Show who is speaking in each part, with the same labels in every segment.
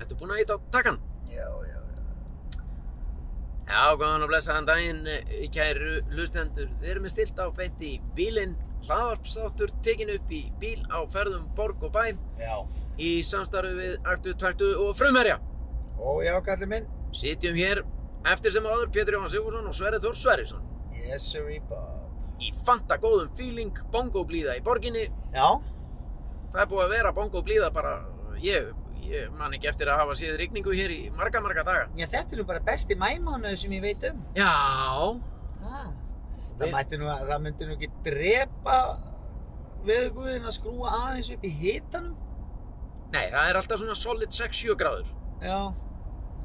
Speaker 1: Ertu búinn að íta á takkan?
Speaker 2: Já, já, já.
Speaker 1: Já, góðan og blessaðan daginn, eh, kæru lustendur. Við erum með stilt á beint í bílinn. Hlaðvarpsáttur tekin upp í bíl á ferðum Borg og Bæ
Speaker 2: Já.
Speaker 1: í samstarfi við Artu, Taktu og Frumherja.
Speaker 2: Ó, já, kallið minn.
Speaker 1: Sitjum hér eftir sem áður Pétur Jóhann Sigurðsson og Sverri Þór Sverrisson.
Speaker 2: Yes, sir, Bob.
Speaker 1: Í fanta góðum feeling, bongo blíða í borginni.
Speaker 2: Já.
Speaker 1: Það er búið að vera bongo blíða bara, ég, ég man ekki eftir að hafa séð rigningu hér í marga, marga daga.
Speaker 2: Já, þetta er nú bara besti mæmánuðu sem ég veit um.
Speaker 1: Já,
Speaker 2: Ha.
Speaker 1: Við-
Speaker 2: Það mætti nú að, það myndi nú ekki drepa veðguðin að skrúa aðeins upp í hitanum.
Speaker 1: nei, það er alltaf svona solid 6-7 gráður.
Speaker 2: Já.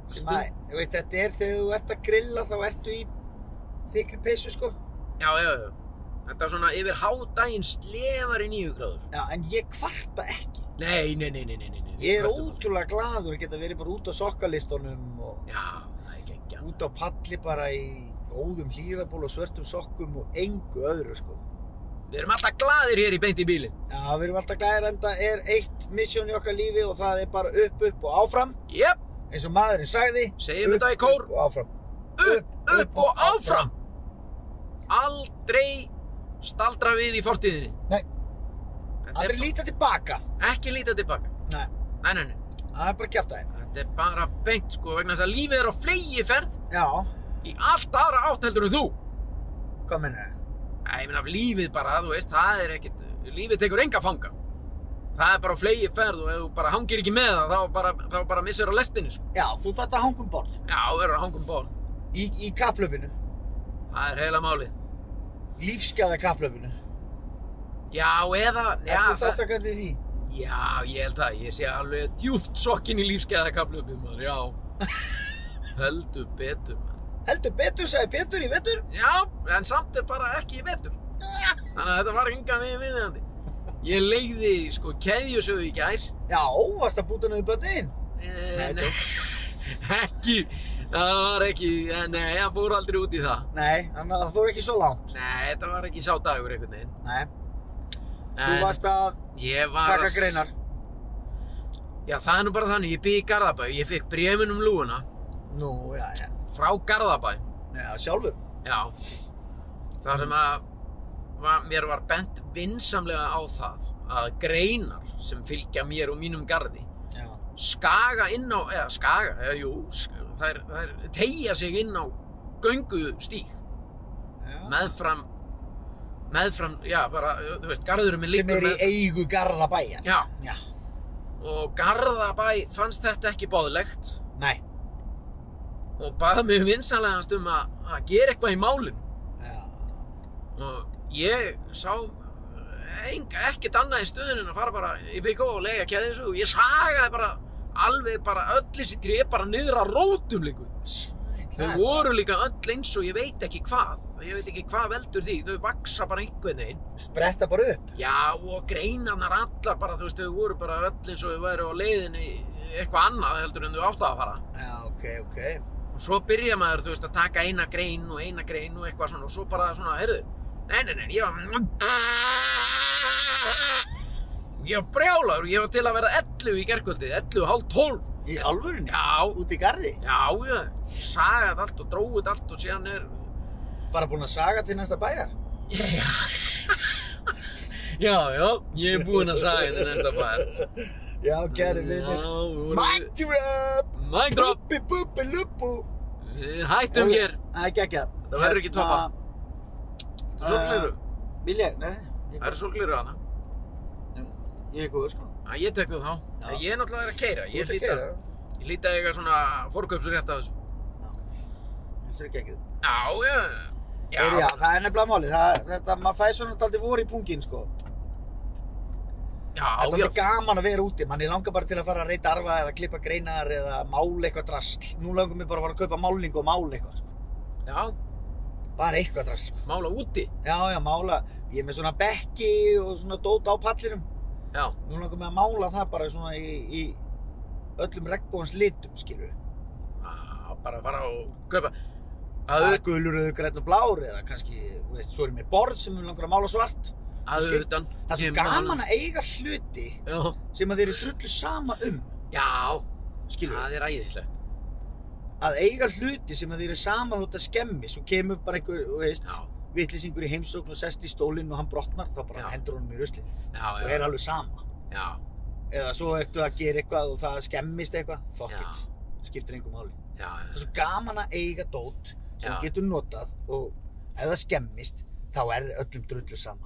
Speaker 2: Sem
Speaker 1: Stund-
Speaker 2: að, þú veist, þetta er þegar þú ert að grilla þá ertu í þykri pissu, sko.
Speaker 1: Já, já, já. Þetta er svona yfir hádaginn slefar í 9 gráður.
Speaker 2: Já, en ég kvarta ekki.
Speaker 1: Nei, nei, nei, nei, nei, nei. nei.
Speaker 2: Ég er
Speaker 1: Hvert þú-
Speaker 2: ótrúlega gladur að geta verið bara út á sokkalistunum og
Speaker 1: Já, það er geggja.
Speaker 2: út á palli bara í góðum hlýraból og svörtum sokkum og engu öðru sko.
Speaker 1: Við erum alltaf glaðir hér í beint í bílinn.
Speaker 2: Já, við erum alltaf glæðir enda er eitt misjón í okkar lífi og það er bara upp, upp og áfram.
Speaker 1: Jep,
Speaker 2: Eins og maðurinn sagði,
Speaker 1: segjum þetta í kór.
Speaker 2: upp og áfram.
Speaker 1: Upp, upp og áfram. Aldrei staldra við í fortíðinni.
Speaker 2: Nei.
Speaker 1: Þetta er
Speaker 2: Aldrei líta tilbaka.
Speaker 1: bara- ekki lítið tilbaka.
Speaker 2: Nei,
Speaker 1: Nei, nei, nei.
Speaker 2: það er bara kjæft aðeins.
Speaker 1: Þetta er bara beint, sko, vegna þess að lífið er á flegiferð
Speaker 2: Já,
Speaker 1: í allt aðra átt heldur en þú.
Speaker 2: hvað menna þið?
Speaker 1: Æ, ég meina, lífið bara, þú veist, það er ekkert, lífið tekur enga fanga. Það er bara flegi ferð og ef þú bara hangir ekki með það, þá bara, þá bara missir á lestinni, sko.
Speaker 2: Já, þú þarft að hanga um borð.
Speaker 1: Já, þú verður að hanga um borð.
Speaker 2: Í, í kaplöfinu.
Speaker 1: Það er heila málið.
Speaker 2: Lífsgæða kaplöfinu.
Speaker 1: Já, eða,
Speaker 2: Já,
Speaker 1: já,
Speaker 2: er
Speaker 1: það,
Speaker 2: þú þátt að gæti því?
Speaker 1: já, ég held það, ég sé alveg djúft sokkin í lífskeiðakaflöfum, maður, já. Heldur betur, maður.
Speaker 2: Heldur betur, sagði Petur í vetur.
Speaker 1: Já, en samt er bara ekki í betur. Þannig að þetta var enga við viðandi. Ég leiði, sko, keðjusögu í gær.
Speaker 2: Já, varst að búta niður bönniðinn?
Speaker 1: Eh,
Speaker 2: Nei,
Speaker 1: nei. ekki, það var ekki, eh, nei, hann fór aldrei út í það.
Speaker 2: Nei, þannig að það fór ekki svo langt.
Speaker 1: Nei, þetta var ekki sá dagur einhvern veginn.
Speaker 2: Nei, þú
Speaker 1: En
Speaker 2: varst að
Speaker 1: ég var að
Speaker 2: taka
Speaker 1: s-
Speaker 2: greinar.
Speaker 1: Já, það er nú bara þannig, ég bygg í Garðabæ, ég fekk bréfin um lúuna
Speaker 2: Nú, já, já.
Speaker 1: frá Garðabæ,
Speaker 2: Já, sjálfur.
Speaker 1: já. Það sem að va- mér var bent vinsamlega á það að greinar sem fylgja mér og mínum garði
Speaker 2: Já.
Speaker 1: skaga inn á, eða skaga, eða jú, sk- þær, þær tegja sig inn á göngu
Speaker 2: já.
Speaker 1: meðfram meðfram, já bara, þú veist, garðurum er
Speaker 2: Sem
Speaker 1: líkur
Speaker 2: er í
Speaker 1: með
Speaker 2: eigu Garðabæjar.
Speaker 1: já,
Speaker 2: Já.
Speaker 1: og Garðabæ fannst þetta ekki bóðlegt
Speaker 2: Nei.
Speaker 1: og bað mig vinsalegast um að, að gera eitthvað í málin
Speaker 2: Já.
Speaker 1: og ég sá eng, ekkert annað í stöðun en að fara bara í byggó og lega kæði þessu og ég sagaði bara alveg bara öll þessi tré bara niður að rótum líku
Speaker 2: Sæt,
Speaker 1: þau voru líka öll eins og ég veit ekki hvað ég veit ekki hvað veldur því, þau vaksa bara einhvern veginn
Speaker 2: Spretta bara upp.
Speaker 1: Já, og greinarnar allar bara, þú veist, þau voru bara öll eins og þau væru á leiðinni í eitthvað annað heldur en þau áttu að fara.
Speaker 2: Já, ok, ok.
Speaker 1: Og svo byrja maður, þú veist, að taka eina grein og eina grein og eitthvað svona og svo bara svona, heyrðu, nei, nei, nei, ég var... Ég var brjálaður, ég var til að vera 11 í gerkvöldi, 11, hálf 12.
Speaker 2: Í alvörunni?
Speaker 1: Já,
Speaker 2: Út í Garði?
Speaker 1: já, já, sagði allt og dróið allt og síðan er...
Speaker 2: Bara búin að saga til næsta bæjar?
Speaker 1: Já, já, já, ég er búinn að sagja þetta næsta bæðar.
Speaker 2: Já, kæri vinnir.
Speaker 1: Já, við vorum-
Speaker 2: Mic drop!
Speaker 1: Mic drop
Speaker 2: Bubbi, bubbi, lubbu.
Speaker 1: Við hættum hér
Speaker 2: Það er geggjað.
Speaker 1: Það verður ekki toppað.
Speaker 2: Viltu
Speaker 1: Sólgliru
Speaker 2: Hérna, uh, Vil ég? Nei, ég
Speaker 1: Það eru sólgliru að
Speaker 2: ég er góður sko.
Speaker 1: það Ég tek þú þá
Speaker 2: Já.
Speaker 1: Ég er náttúrulega að keira Ég
Speaker 2: Þú ert að
Speaker 1: hlýt að
Speaker 2: keyra.
Speaker 1: Ég hlýt að eiga svona fórkaupsrétt af þessu
Speaker 2: Þessu er geggjað.
Speaker 1: Já, já Já,
Speaker 2: Heyri, já, það er nefnilega málið. Það, þetta, maður fæði svona daldi vor í pungin, sko.
Speaker 1: já,
Speaker 2: Þetta er
Speaker 1: já
Speaker 2: alveg gaman að vera úti. Manni langar bara til að fara að reyta arfa eða klippa greinar eða mála eitthvað drasl. Nú langar mér bara að fara að kaupa málningu og mála eitthvað, sko.
Speaker 1: Já,
Speaker 2: Bara eitthvað drasl, sko.
Speaker 1: mála úti
Speaker 2: Já, já, mála. Ég er með svona bekki og svona dót á pallinum.
Speaker 1: Já,
Speaker 2: Nú langar mér að mála það bara svona í, í öllum regnbóðans litum, skilur við.
Speaker 1: Já, bara fara og kaupa Að
Speaker 2: Bara
Speaker 1: au-
Speaker 2: gulur, rauður, grænn og blár eða kannski, þú veist, svo er ég með borð sem mér langar að mála svart.
Speaker 1: að
Speaker 2: skil-
Speaker 1: utan
Speaker 2: Það er svo gaman að eiga hluti
Speaker 1: Já,
Speaker 2: sem að þeir eru drullu sama um.
Speaker 1: já
Speaker 2: skilur
Speaker 1: Það er æðislegt.
Speaker 2: að eiga hluti sem að þeir eru saman þótt að skemmi svo kemur bara einhver, þú veist,
Speaker 1: Já,
Speaker 2: vitlýsingur í heimsókn og sest í stólinn og hann brotnar þá bara
Speaker 1: Já.
Speaker 2: hendur honum í rusli og hérna-
Speaker 1: já,
Speaker 2: er
Speaker 1: já.
Speaker 2: alveg sama
Speaker 1: Já,
Speaker 2: eða svo ertu að gera eitthvað og það skemmist eitthvað fuck
Speaker 1: Já.
Speaker 2: it, skiptir engum máli
Speaker 1: já,
Speaker 2: það er
Speaker 1: já.
Speaker 2: svo gaman að eiga dót sem
Speaker 1: Já.
Speaker 2: þú getur notað og ef það skemmist þá er öllum drullu sama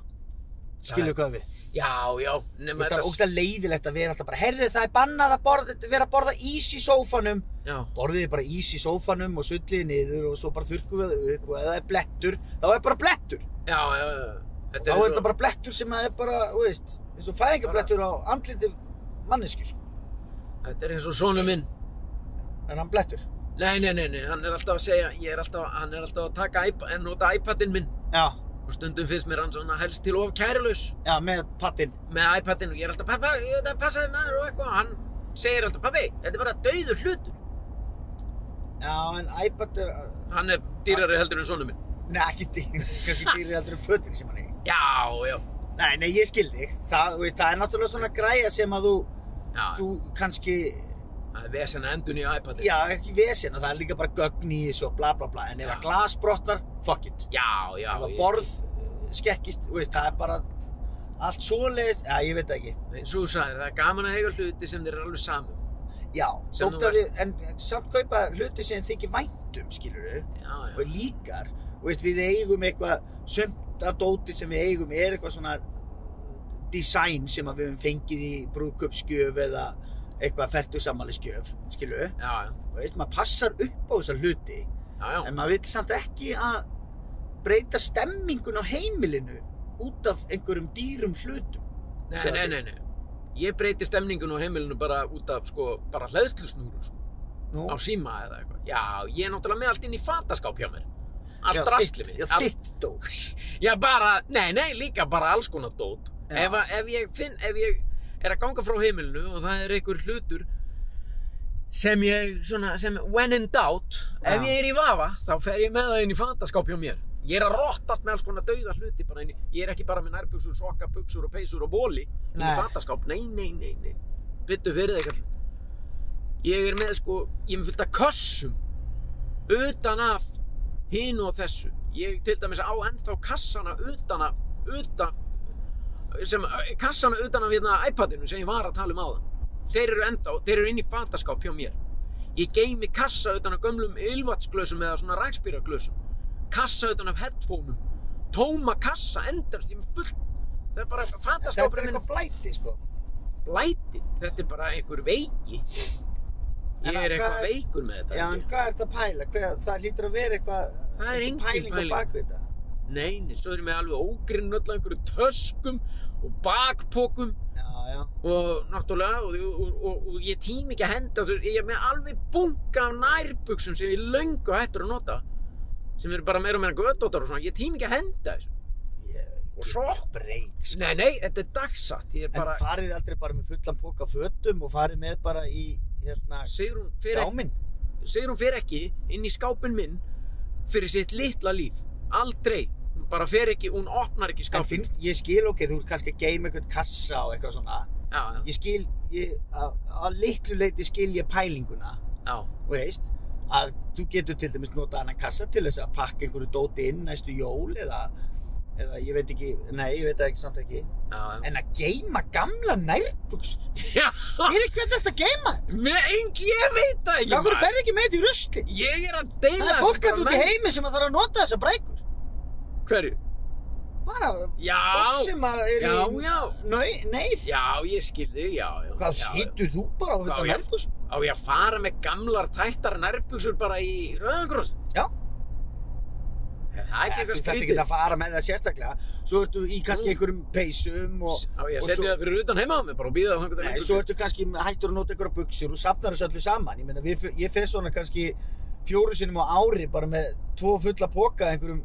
Speaker 2: skilur hvað við
Speaker 1: Já, já.
Speaker 2: Þú
Speaker 1: Nefnum
Speaker 2: veist, það er ógst leiðilegt að vera alltaf bara herðu það er bannað að borða, vera að borða ís í sófanum
Speaker 1: Já,
Speaker 2: borðið bara ís í sófanum og sullið niður og svo bara þurrkum við það upp og ef það er blettur þá er bara blettur
Speaker 1: já, já. já.
Speaker 2: þá er þetta bara blettur sem að er bara, þú veist, eins og fæðingablettur á andliti manneski, sko.
Speaker 1: Þetta er eins og sonu minn.
Speaker 2: En hann blettur.
Speaker 1: Nei, nei, nei, nei, hann er alltaf að segja, ég er alltaf, hann er alltaf að taka iPad, en nota iPadinn minn
Speaker 2: Já,
Speaker 1: og stundum finnst mér hann svona helst til of kærulaus
Speaker 2: já, með pattinn.
Speaker 1: með iPadinn og ég er alltaf, pappa, þetta passaði maður og eitthvað og hann segir alltaf, pappi, þetta er bara dauður hlutur.
Speaker 2: Já, en iPad er,
Speaker 1: Hann er dýrari heldur en sonu minn.
Speaker 2: neða, ekki dýr, kannski dýr er aldrei fötin sem hann er. í.
Speaker 1: Já, já,
Speaker 2: Nei, nei, ég skil þig. Það, þú veist, það er náttúrulega svona græja sem að þú,
Speaker 1: já,
Speaker 2: þú kannski,
Speaker 1: það er vesen að endun í iPadinn.
Speaker 2: já, ekki vesen og það er líka bara gögn í þessu og bla bla bla. En ef
Speaker 1: Já.
Speaker 2: að glas brotnar, fuck it.
Speaker 1: Já, já,
Speaker 2: ef að
Speaker 1: ég-
Speaker 2: borð eh, skekkist, þú veist, það er bara allt svoleiðist, já, ég veit það ekki.
Speaker 1: eins og þú sagðir, það er gaman að eiga hluti sem þeir eru alveg saman.
Speaker 2: Já,
Speaker 1: Sem
Speaker 2: þótt
Speaker 1: þú
Speaker 2: að þið, en en samt kaupa hluti sem þykir væntum, skilur við,
Speaker 1: Já, já,
Speaker 2: og líkar, og veist, við eigum eitthvað, sumt af dóti sem við eigum er eitthvað svona design sem að við höfum fengið í brúðkaupsgjöf eða eitthvað fertugsamaliskjöf, skilur við,
Speaker 1: já, já,
Speaker 2: og veist, maður passar upp á þessa hluti,
Speaker 1: já, já,
Speaker 2: en maður vil samt ekki að breyta stemmingun á heimilinu út af einhverjum dýrum hlutum.
Speaker 1: nei,
Speaker 2: svo
Speaker 1: nei,
Speaker 2: þetta-
Speaker 1: nei, nei. Ég breyti stemningun og heimilinu bara út af, sko, bara hleðslusnúru, sko.
Speaker 2: Nú,
Speaker 1: á síma eða eitthvað já, ég er náttúrulega með allt inn í fataskáp hjá mér
Speaker 2: já,
Speaker 1: allt rastli
Speaker 2: þitt-
Speaker 1: mitt
Speaker 2: Já,
Speaker 1: Allt-
Speaker 2: þitt dót.
Speaker 1: já, bara, nei, nei, líka bara alls konar dót
Speaker 2: Já.
Speaker 1: ef, að- ef ég finn, ef ég er að ganga frá heimilinu og það er einhver hlutur sem ég, svona, sem when in doubt
Speaker 2: Já.
Speaker 1: ef ég er í vafa, þá fer ég með það inn í fataskáp hjá mér ég er að rottast með alls konar dauða hluti bara inn í, ég er ekki bara með nærbuxur, sokka, buxur og peysur og bóli inn í
Speaker 2: Nei.
Speaker 1: fataskáp, nei, nei, nei, nei byttu fyrir þeir kallinn ég er með sko, ég er með fullt af kössum utan af hinu og þessu ég til dæmis á ennþá kassana utan af utan sem, kassana utan af hérna iPadinu sem ég var að tala um áðan þeir eru ennþá, þeir eru inn í fataskáp hjá mér ég geymi kassa utan af gömlum ylvatsglösum eða svona rækspýraglösum kassa utan af headphoneum tóma kassa endast, ég er með fullt það er bara
Speaker 2: Þetta er
Speaker 1: fataskapurinn minn
Speaker 2: eitthvað flæti, sko.
Speaker 1: blæti þetta er bara einhver veiki ég
Speaker 2: En
Speaker 1: er
Speaker 2: að
Speaker 1: eitthvað
Speaker 2: hvað-
Speaker 1: veikur með þetta
Speaker 2: Já,
Speaker 1: held
Speaker 2: en
Speaker 1: ég.
Speaker 2: hvað ert að pæla? Hver, það hlýtur að vera eitthvað
Speaker 1: Það er
Speaker 2: einhver
Speaker 1: engin
Speaker 2: pæling,
Speaker 1: pæling.
Speaker 2: á bak við þetta.
Speaker 1: Nei, nei, svo erum við alveg ógrinn öll af einhverju töskum og bakpokum
Speaker 2: Já, já.
Speaker 1: og náttúrulega og, og, og, og ég tím ekki að henda þú veist, ég er með alveg bunga af nærbuksum sem ég er löngu hættur að nota sem eru bara meira og meira göttóttar og svona ég tím ekki að henda þessu
Speaker 2: Ég-
Speaker 1: Og svo-
Speaker 2: Break, sko.
Speaker 1: Nei, nei, þetta er dagsatt ég er bara,
Speaker 2: En farið aldrei bara með fullan póka fötum og farið með bara í, hérna,
Speaker 1: Sigrún fer, ekki,
Speaker 2: gáminn.
Speaker 1: Sigrún fer ekki inn í skápinn minn fyrir sitt litla líf aldrei, hún bara fer ekki hún opnar ekki
Speaker 2: En
Speaker 1: skápinn
Speaker 2: finnst, ég skil ok, þú ert kannski að geima einhvern kassa og eitthvað svona.
Speaker 1: já, já,
Speaker 2: Ég skil, ég, að að litlu leiti skil ég pælinguna,
Speaker 1: já,
Speaker 2: og veist, að þú getur til dæmis notað annan kassa til þess að pakka einhverju dóti inn næstu jól eða, eða ég veit ekki, nei, ég veit það ekki samt ekki.
Speaker 1: já, já.
Speaker 2: En að geima gamla nærbuksur.
Speaker 1: já.
Speaker 2: Fyrir hvernig þetta geima?
Speaker 1: Með engi, ég veit það ekki
Speaker 2: Þá hverju
Speaker 1: maður.
Speaker 2: ferði ekki með þetta í rusli?
Speaker 1: Ég er að deila
Speaker 2: Það er
Speaker 1: þessu
Speaker 2: fólk
Speaker 1: bara
Speaker 2: að úti í
Speaker 1: með-
Speaker 2: heimi sem að þarf að nota þessa brækur.
Speaker 1: Hverju?
Speaker 2: Bara
Speaker 1: Já,
Speaker 2: fólk sem að er
Speaker 1: já,
Speaker 2: í
Speaker 1: já
Speaker 2: nau- neyð.
Speaker 1: Já, ég skil þig, já, já
Speaker 2: Hvað
Speaker 1: já, já.
Speaker 2: sýttu þú bara á þetta
Speaker 1: Já, já.
Speaker 2: nærbuksum?
Speaker 1: Á ég að fara með gamlar tættar nærbuxur bara í Rauðangrósin?
Speaker 2: Já.
Speaker 1: Er það ekki eitthvað
Speaker 2: Þetta ekki
Speaker 1: skrítið?
Speaker 2: að fara með það sérstaklega. Svo ertu í kannski
Speaker 1: Mm.
Speaker 2: einhverjum peysum og...
Speaker 1: Á ég
Speaker 2: og
Speaker 1: að setja
Speaker 2: svo-
Speaker 1: það fyrir utan heima á mig bara og býða það þannig að
Speaker 2: Nei, svo ertu kannski hættur að nota einhverja buksur og safnar þessu öllu saman. Ég meina, við, ég fer svona kannski fjóru sinnum á ári bara með tvo fulla póka af einhverjum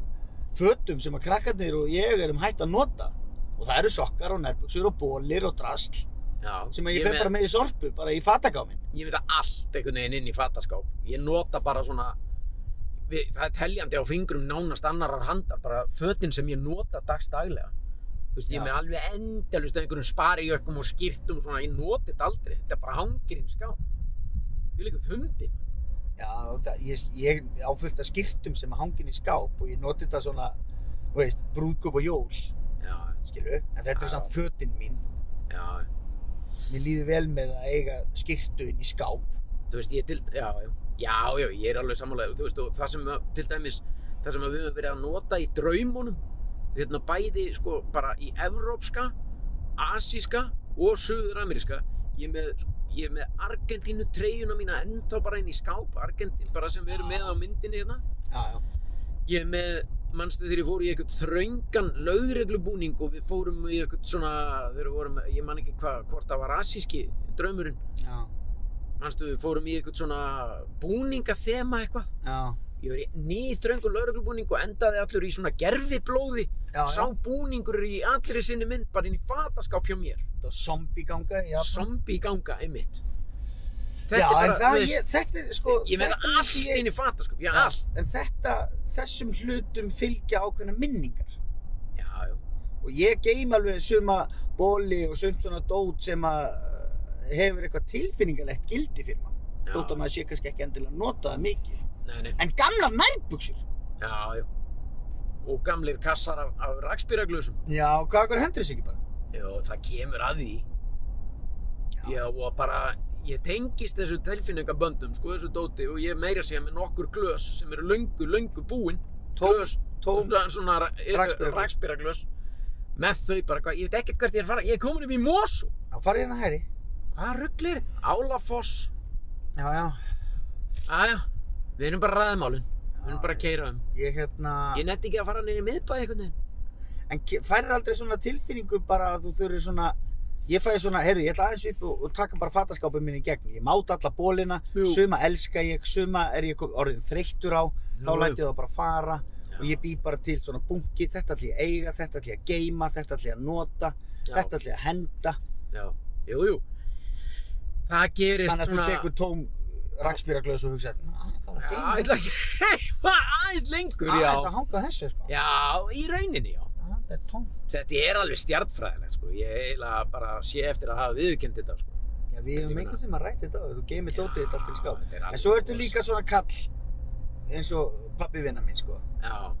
Speaker 2: fötum sem að krakkarnir og ég erum hætt að nota. Og það eru sokkar og nærbuksur og bólir og drasl
Speaker 1: Já,
Speaker 2: sem að ég, fer bara með í sorpu, bara í fatagáminn.
Speaker 1: Ég veit að allt einhvern veginn inn í fataskáp Ég nota bara svona við, Það er teljandi á fingrum nánast annarar handar bara fötin sem ég nota dagstaglega Þú veist, ég er
Speaker 2: Já.
Speaker 1: með alveg endalust einhverjum sparijökkum og skýrtum og svona, ég noti þetta aldrei, þetta bara hangir í skáp Ég líka þumbi.
Speaker 2: Já, það, ég, ég á fullt af skýrtum sem hangin í skáp og ég noti þetta svona, þú veist, brúðkaup og jól,
Speaker 1: Já,
Speaker 2: skilu, en þetta er
Speaker 1: Já.
Speaker 2: samt fötin mín.
Speaker 1: já.
Speaker 2: Mér líður vel með að eiga skýrtu inn í skáp.
Speaker 1: Þú veist, ég til... Já, já. Já, já, ég er alveg sammálaðið. Þú veist, og það sem að- til dæmis, það sem að við höfum verið að nota í draumunum, hérna bæði, sko, bara í evrópska, asíska og suðurameríska. Ég er með, sko, ég er með Argentínu treyjuna mína ennþá bara inn í skáp, Argentín, bara sem við erum með á myndinni hérna.
Speaker 2: Já, já.
Speaker 1: ég er með, manstu þegar ég fór í eitthvað þröngan lögreglubúning og við fórum í eitthvað svona, þegar við vorum, ég man ekki hvað, hvort það var asíski draumurinn,
Speaker 2: Já,
Speaker 1: manstu við fórum í eitthvað svona búningathema eitthvað.
Speaker 2: já.
Speaker 1: Ég var í nýþröngun lögreglubúning og endaði allur í svona gerfiblóði,
Speaker 2: Já,
Speaker 1: sá búningur er í allri sinni mynd bara inn í fataskáp hjá mér,
Speaker 2: Þetta var zombie ganga, já.
Speaker 1: zombi ganga einmitt.
Speaker 2: já,
Speaker 1: er
Speaker 2: en það,
Speaker 1: þú veist,
Speaker 2: ég, þetta er sko...
Speaker 1: ég meina
Speaker 2: þetta myndi
Speaker 1: allt
Speaker 2: ég-
Speaker 1: inn í fataskáp, já,
Speaker 2: Já,
Speaker 1: allt,
Speaker 2: En þetta, þessum hlutum fylgja ákveðna minningar.
Speaker 1: já, já,
Speaker 2: og ég geym alveg suma bóli og sumt svona dót sem að eh, hefur eitthvað tilfinningalegt gildi fyrir mann
Speaker 1: já,
Speaker 2: dót að maður sé kannski ekki endilega nota það mikið
Speaker 1: nei, nei.
Speaker 2: en gamla nærbuksur
Speaker 1: Já, já. Og gamlir kassar af, af rakspýraglösum.
Speaker 2: já, hvað okkur hendur þess ekki bara
Speaker 1: Jó, það kemur að því.
Speaker 2: Já.
Speaker 1: Já, og bara, ég tengist þessu tilfinningaböndum, sko, þessu dóti og ég meira segja með nokkur glös sem eru löngu, löngu búin.
Speaker 2: Tóm-
Speaker 1: glös,
Speaker 2: tóm
Speaker 1: svona- svona
Speaker 2: rakspíraglös.
Speaker 1: rakspýraglös. Með þau bara, hvað, ég veit ekkert hvert ég er að fara. Ég er komin upp í Mosó.
Speaker 2: þá farið hérna hæri
Speaker 1: Hvað rugglir? Álafoss.
Speaker 2: já, já
Speaker 1: Æja, við erum bara ræðmálin. Við erum bara að keira um.
Speaker 2: ég hérna
Speaker 1: Ég netti ekki að fara niður í miðbæði einhvern veginn.
Speaker 2: en ke- færð aldrei svona tilfinningu bara að þú þurfir svona ég fæði svona, heyrðu, ég ætla aðeins upp og, og taka bara fataskápum minni í gegn ég máta alla bólina,
Speaker 1: Jú.
Speaker 2: suma elska ég suma er ég kom- orðin þreyttur á þá
Speaker 1: Jú, jú.
Speaker 2: læti ég það bara fara
Speaker 1: Já.
Speaker 2: og ég bý bara til svona bunki, þetta ætla ég að eiga þetta ætla ég að geima, þetta ætla ég að nota
Speaker 1: Já.
Speaker 2: þetta ætla ég að henda
Speaker 1: Já, jú, jú. Það gerist
Speaker 2: þannig að þú tekur tóm rakspýraglöðs og hugsa það var
Speaker 1: Já,
Speaker 2: geima,
Speaker 1: ég ætla ekki Hvað, aðeins lengur,
Speaker 2: það
Speaker 1: já.
Speaker 2: ætla að hanga á þessu sko.
Speaker 1: Já, í rauninni, já.
Speaker 2: Ah, þetta er tóm
Speaker 1: Þetta er alveg stjartfræðilegt, sko. Ég eiginlega bara sé eftir að hafa viðurkennt þetta, sko.
Speaker 2: Já, við
Speaker 1: Ég
Speaker 2: hefum
Speaker 1: meina-
Speaker 2: einhvern tíma rætt þetta og þú geymir dótið þetta allt í skáp.
Speaker 1: þetta er alveg
Speaker 2: En svo ertu
Speaker 1: rosa.
Speaker 2: líka svona kall eins og pappi vinnar minn sko.
Speaker 1: Já,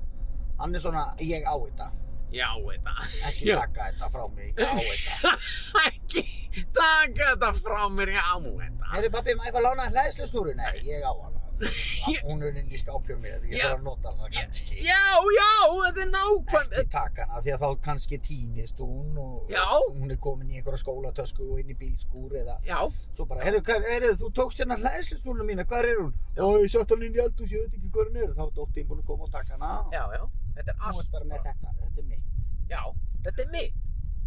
Speaker 2: Hann er svona, ég á þetta,
Speaker 1: já, þetta.
Speaker 2: ekki
Speaker 1: Já.
Speaker 2: taka þetta frá mig, ég á þetta.
Speaker 1: Ekki taka þetta frá mér, já, þetta.
Speaker 2: Herri pappi, maður eitthvað lána hlæðslu snúru? Nei, ég á hana.
Speaker 1: Ég-
Speaker 2: Hún er inn í skápjum mér, ég
Speaker 1: Já.
Speaker 2: þarf að nota hana kannski.
Speaker 1: Já, já, þetta er nákvæm.
Speaker 2: Ekki taka hana, því að þá kannski týnist hún og
Speaker 1: Já.
Speaker 2: hún er komin í einhverja skólatösku og inn í bílskúr eða
Speaker 1: Já,
Speaker 2: Svo bara, heyrðu, hvað- heyrðu, þú tókst hérna hlæðslusnúruna mína, hvar er hún? Ó, ég sett hann inn í eldhús, ég veit ekki hvað hann er. Þá er dóttin búin að koma og taka hana.
Speaker 1: já, já, þetta er
Speaker 2: Þú ert
Speaker 1: allt.
Speaker 2: bara með þetta, þetta er mitt.
Speaker 1: Já, þetta er mitt.